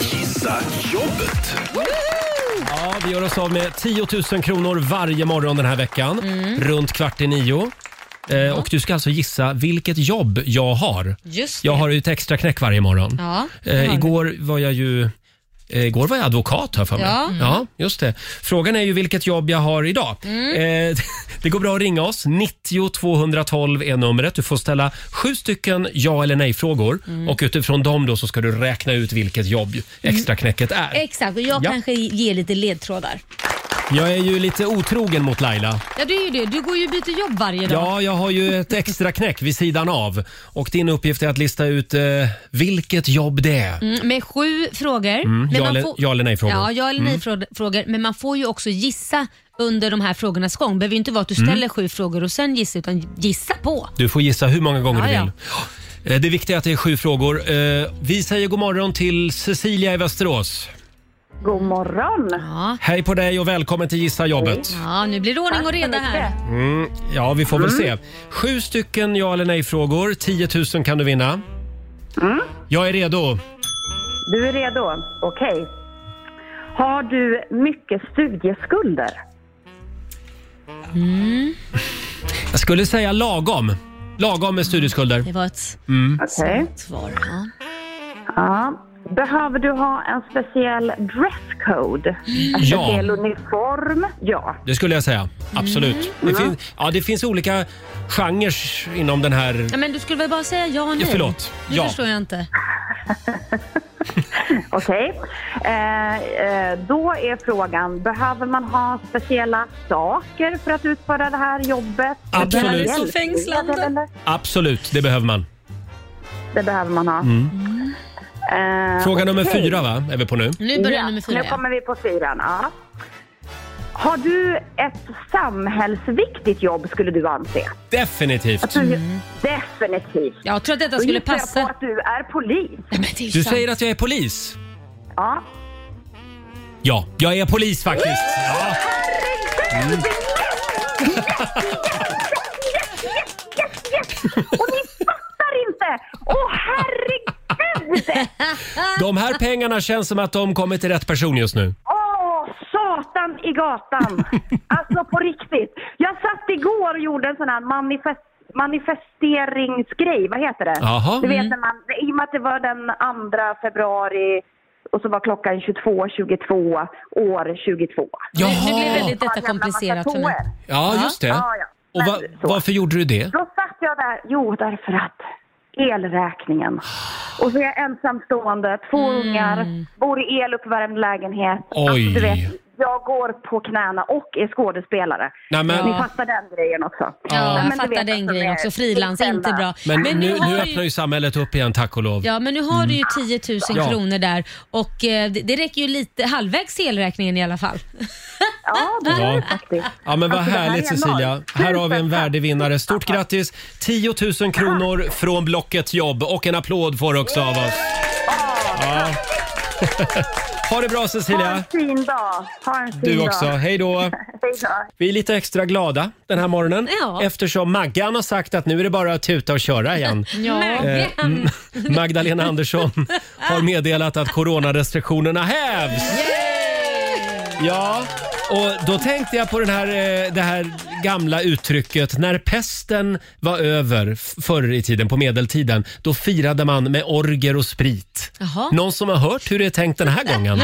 D: Gissa jobbet.
A: Ja, vi gör oss av med 10 000 kronor varje morgon den här veckan. Runt kvart i nio. Eh, och du ska alltså gissa vilket jobb jag har.
C: Just det.
A: Jag har ju ett extra knäck varje morgon.
C: Ja, det
A: Eh,
C: har
A: igår var jag ju eh, Igår var jag advokat här för mig. Mm.
C: Ja.
A: ja, just det. Frågan är ju vilket jobb jag har idag.
C: Mm.
A: Eh, (laughs) det går bra att ringa oss. 90 212 är numret. Du får ställa sju stycken ja eller nej-frågor
C: Mm.
A: och utifrån dem då så ska du räkna ut vilket jobb extra knäcket är.
C: Exakt, och jag
A: Ja.
C: kanske ger lite ledtrådar.
A: Jag är ju lite otrogen mot Laila.
C: Ja, du är ju det. Du går ju och byter jobb varje dag.
A: Ja, jag har ju ett extra knäck vid sidan av. Och din uppgift är att lista ut eh, vilket jobb det är.
C: Mm, med sju frågor.
A: Mm,
C: men
A: ja
C: man
A: eller-
C: får-
A: ja eller nej-frågor.
C: Ja, ja eller
A: Mm.
C: nej-frågor. Men man får ju också gissa under de här frågornas gång. Det behöver ju inte vara att du
A: Mm.
C: ställer sju frågor och sen gissa, utan gissa på.
A: Du får gissa hur många gånger du
C: Ja,
A: vill. Eh, Det viktiga är att det är sju frågor. Eh, Vi säger god morgon till Cecilia i Västerås.
C: God morgon. Ja,
A: Hej på dig och välkommen till Gissa jobbet.
C: ja nu blir det ordning och reda här.
A: Mm, ja, vi får väl se.
C: Mm.
A: Sju stycken ja eller nej-frågor. 10 000 kan du vinna. Jag är redo.
N: Du är redo? Okej. Har du mycket studieskulder?
A: Jag skulle säga lagom. Lagom med studieskulder.
C: Det var ett
A: mm.
N: Okej.
C: svar.
N: Ja. Behöver du ha en speciell dresscode? En
A: Ja.
N: speciell uniform? Ja.
A: Det skulle jag säga. Absolut. Det,
N: Ja.
A: fin- ja, det finns olika genrer inom den här...
C: Ja, men du skulle väl bara säga ja och nej?
A: Ja, förlåt.
C: Nu
A: Ja.
C: förstår jag inte.
N: Okej. Eh, eh, då är frågan, behöver man ha speciella saker för att utföra det här jobbet?
A: Absolut.
N: Speciell
A: Det här är så
N: hjälp?
C: fängslande.
A: Absolut, det behöver man.
N: Det behöver man ha.
A: Mm.
N: Eh,
A: Fråga nummer
N: okej.
A: fyra va? är vi på nu.
C: Nu börjar
N: ja,
C: nummer fyra,
N: Nu
C: ja.
N: kommer vi på fyran. Ja. Har du ett samhällsviktigt jobb skulle du anse?
A: Definitivt.
N: Definitivt.
C: Jag tror att detta
N: Då
C: Mm. skulle
N: gissar jag
C: passa.
N: på att du är polis.
A: Du säger att jag är polis.
N: Ja.
A: Ja, jag är polis faktiskt. Ja. Mm.
N: Fattar inte! Åh herregud!
A: De här pengarna känns som att de kommer till rätt person just nu.
N: Åh, satan i
P: (laughs)
N: gatan! Alltså på riktigt. Jag satt igår och gjorde en sån här manifest manifesteringsgrej, vad heter det?
P: Jaha.
N: Du vet
P: Mm.
N: när man, i och med att det var den 2 februari och så var klockan 22.22 år 22.
A: Jaha.
C: Nu blev väldigt detta komplicerat för mig.
A: Ja, just det.
N: Ja, ja.
A: Och va, varför gjorde du det?
N: Då satt jag där, jo därför att elräkningen. Och så är jag ensamstående, två
P: Mm.
N: ungar, bor i eluppvärmd lägenhet.
A: Oj.
N: Alltså, du vet, jag går på knäna och är skådespelare.
A: Nej, men-
N: Ni fattar den grejen också.
C: Ja,
N: Nej,
C: jag
N: men du
C: fattar
N: vet
C: den
N: att de
C: grejen
N: är
C: också. Frilans,
N: beställda.
C: inte bra.
A: Men,
C: Men nu
A: nu,
C: har
A: nu
C: du-
A: öppnar ju samhället upp igen, tack och lov.
C: Ja, men nu har du ju 10 000
A: Ja.
C: kronor där och eh, det, det räcker ju lite halvvägs till elräkningen i alla fall.
N: Ja, det
A: Ja. Ja, men vad
C: Alltså, det här
A: härligt
C: är enormt.
A: Cecilia. Här har vi en värdig vinnare. Stort grattis! 10 000 kronor från Blocket Jobb och en applåd får du också av oss.
N: Åh,
A: Ja. (laughs) Ha det bra
N: Ha
A: Cecilia!
N: en fin dag. Ha en fin
A: Du
N: dag.
A: också, hej då!
N: (laughs) Hej då.
A: Vi är lite extra glada den här morgonen
N: Ja.
A: eftersom Maggan har sagt att nu är det bara att tuta och
N: (laughs)
A: köra igen.
C: (laughs)
B: Ja.
A: Eh, M- Magdalena Andersson har meddelat att coronarestriktionerna hävs. Ja, och då tänkte jag på den här, eh, det här gamla uttrycket när pesten var över f- förr i tiden, på medeltiden, då firade man med orger och sprit.
O: Jaha.
A: Någon som har hört hur det är tänkt den
B: (laughs)
A: här gången?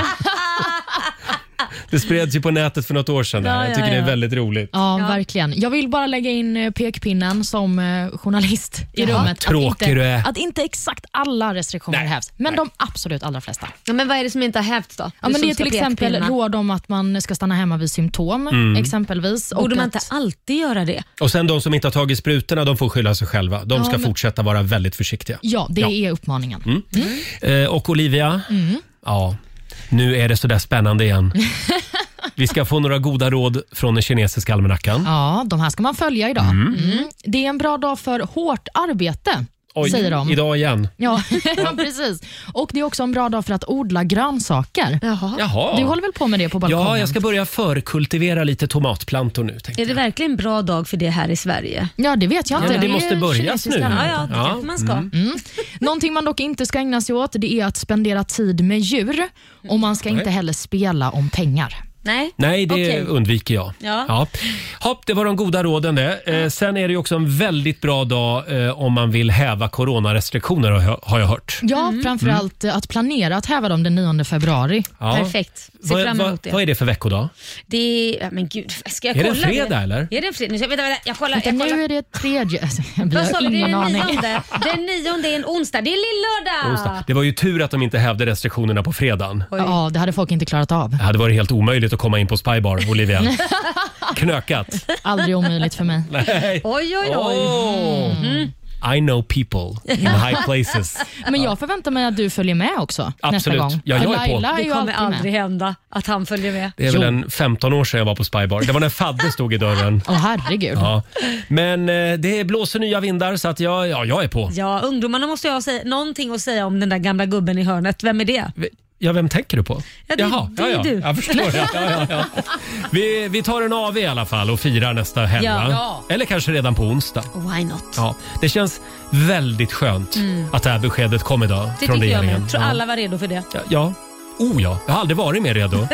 A: Det spreds ju på nätet för något år sedan. Där.
B: Ja,
A: Jag
B: ja,
A: tycker det är
B: ja.
A: väldigt roligt.
B: Ja, verkligen. Jag vill bara lägga in eh, pekpinnen som eh, journalist i
A: Jaha.
B: rummet.
A: Tråkig
B: att,
A: du
B: inte,
A: är.
B: att inte exakt alla restriktioner hävs, men de absolut allra flesta.
O: Ja, men vad är det som inte har hävts då?
B: Ja,
O: Du
B: men
O: som
B: det är
O: ska
B: till exempel
O: pekpinna.
B: råd om att man ska stanna hemma vid symptom.
A: Mm.
B: exempelvis.
O: Borde man
B: inte alltid göra det?
A: Och sen de som inte har tagit sprutorna, de får skylla sig själva. De
B: Ja,
A: ska
B: men-
A: fortsätta vara väldigt försiktiga.
B: Ja, det
A: Ja.
B: är uppmaningen.
A: Mm. Eh, och Olivia,
B: Mm.
A: ja, nu är det sådär spännande
B: (laughs)
A: igen. Vi ska få några goda råd från den kinesiska almanackan.
B: Ja, de här ska man följa idag.
A: Mm.
B: Mm. Det är en bra dag för hårt arbete,
A: Oj,
B: säger de.
A: idag igen.
B: Ja, (laughs) precis. Och Det är också en bra dag för att odla grönsaker.
A: Jaha.
B: Du håller väl på med det på balkongen?
A: Ja, jag ska börja förkultivera lite tomatplantor nu. tänkte
O: Är det verkligen en bra dag för det här i Sverige?
B: Ja, det vet jag
A: Ja,
B: inte.
A: men det
B: är
A: måste börjas
B: kinesiska.
A: nu.
O: Ja, ja, det
A: Mm. Ja.
O: kanske man ska.
A: Mm.
B: Mm. Någonting man dock inte ska ägna sig åt det är att spendera tid med djur och man ska
A: Nej.
B: inte heller spela om pengar.
O: Nej.
A: Nej, det
B: Okej.
A: undviker jag.
B: Ja.
A: Hopp, det var de goda råden det. Eh, sen är det ju också en väldigt bra dag eh, om man vill häva coronarestriktioner har jag- har jag hört.
B: Ja,
O: Mm.
B: framförallt
A: Mm.
B: eh, att planera att häva dem den 9 februari.
A: Ja.
O: Perfekt. Se
A: Vad-
O: fram emot
A: vad-
O: det.
A: Vad är det för veckodag?
O: Det är, ja, men gud, ska jag
A: Är det
O: kolla
A: en fredag, eller?
O: Är det en fredag? Nu, vänta, vänta, jag kollar.
B: Vänta,
O: Jag kollar.
B: nu är det tredje... (laughs) Vi
O: Vad sa
B: har
O: vi? Det är
B: ingen
O: den
B: aning.
O: nionde. Den nionde är en onsdag. Det är lillördag.
A: Onsdag. Det var ju tur att de inte hävde restriktionerna på fredagen.
B: Ja, det hade folk inte klarat av.
A: Det hade varit helt omöjligt att komma in på Spybar, Olivia.
O: (laughs)
A: Knökat.
B: Aldrig omöjligt för mig.
A: Nej.
O: Oj, Mm. oj, oj.
A: Åh. I know people in high places.
B: Men jag förväntar mig att du följer med också nästa
A: Absolut.
B: gång.
A: Ja, jag
B: För
A: är på.
B: Laila är
O: Det
B: ju
O: kommer
B: alltid
O: aldrig
B: med.
O: hända att han följer med.
A: Det är väl en 15 år sedan jag var på Spybar. Det var när Fadde stod i dörren.
B: Åh herregud.
A: Ja. Men eh, det blåser nya vindar så att jag, ja, jag är på.
O: Ja, ungdomarna måste ju ha säga, någonting att säga om den där gamla gubben i hörnet. Vem är det?
A: Ja, vem tänker du på?
O: Ja, det-
A: Jaha,
O: det är
A: ja, ja.
O: du.
A: Jag förstår. Ja, ja, ja. Vi, vi tar en AV i alla fall och firar nästa helg.
O: Ja.
A: va?
O: Ja.
A: Eller kanske redan på onsdag.
O: Why not?
A: Ja, det känns väldigt skönt
O: Mm.
A: att det här beskedet kom idag
O: Det
A: från
O: tycker jag
A: regeringen.
O: med. Tror alla var redo för det. (laughs)
A: Ja. ja. Oh ja, jag har aldrig varit mer redo.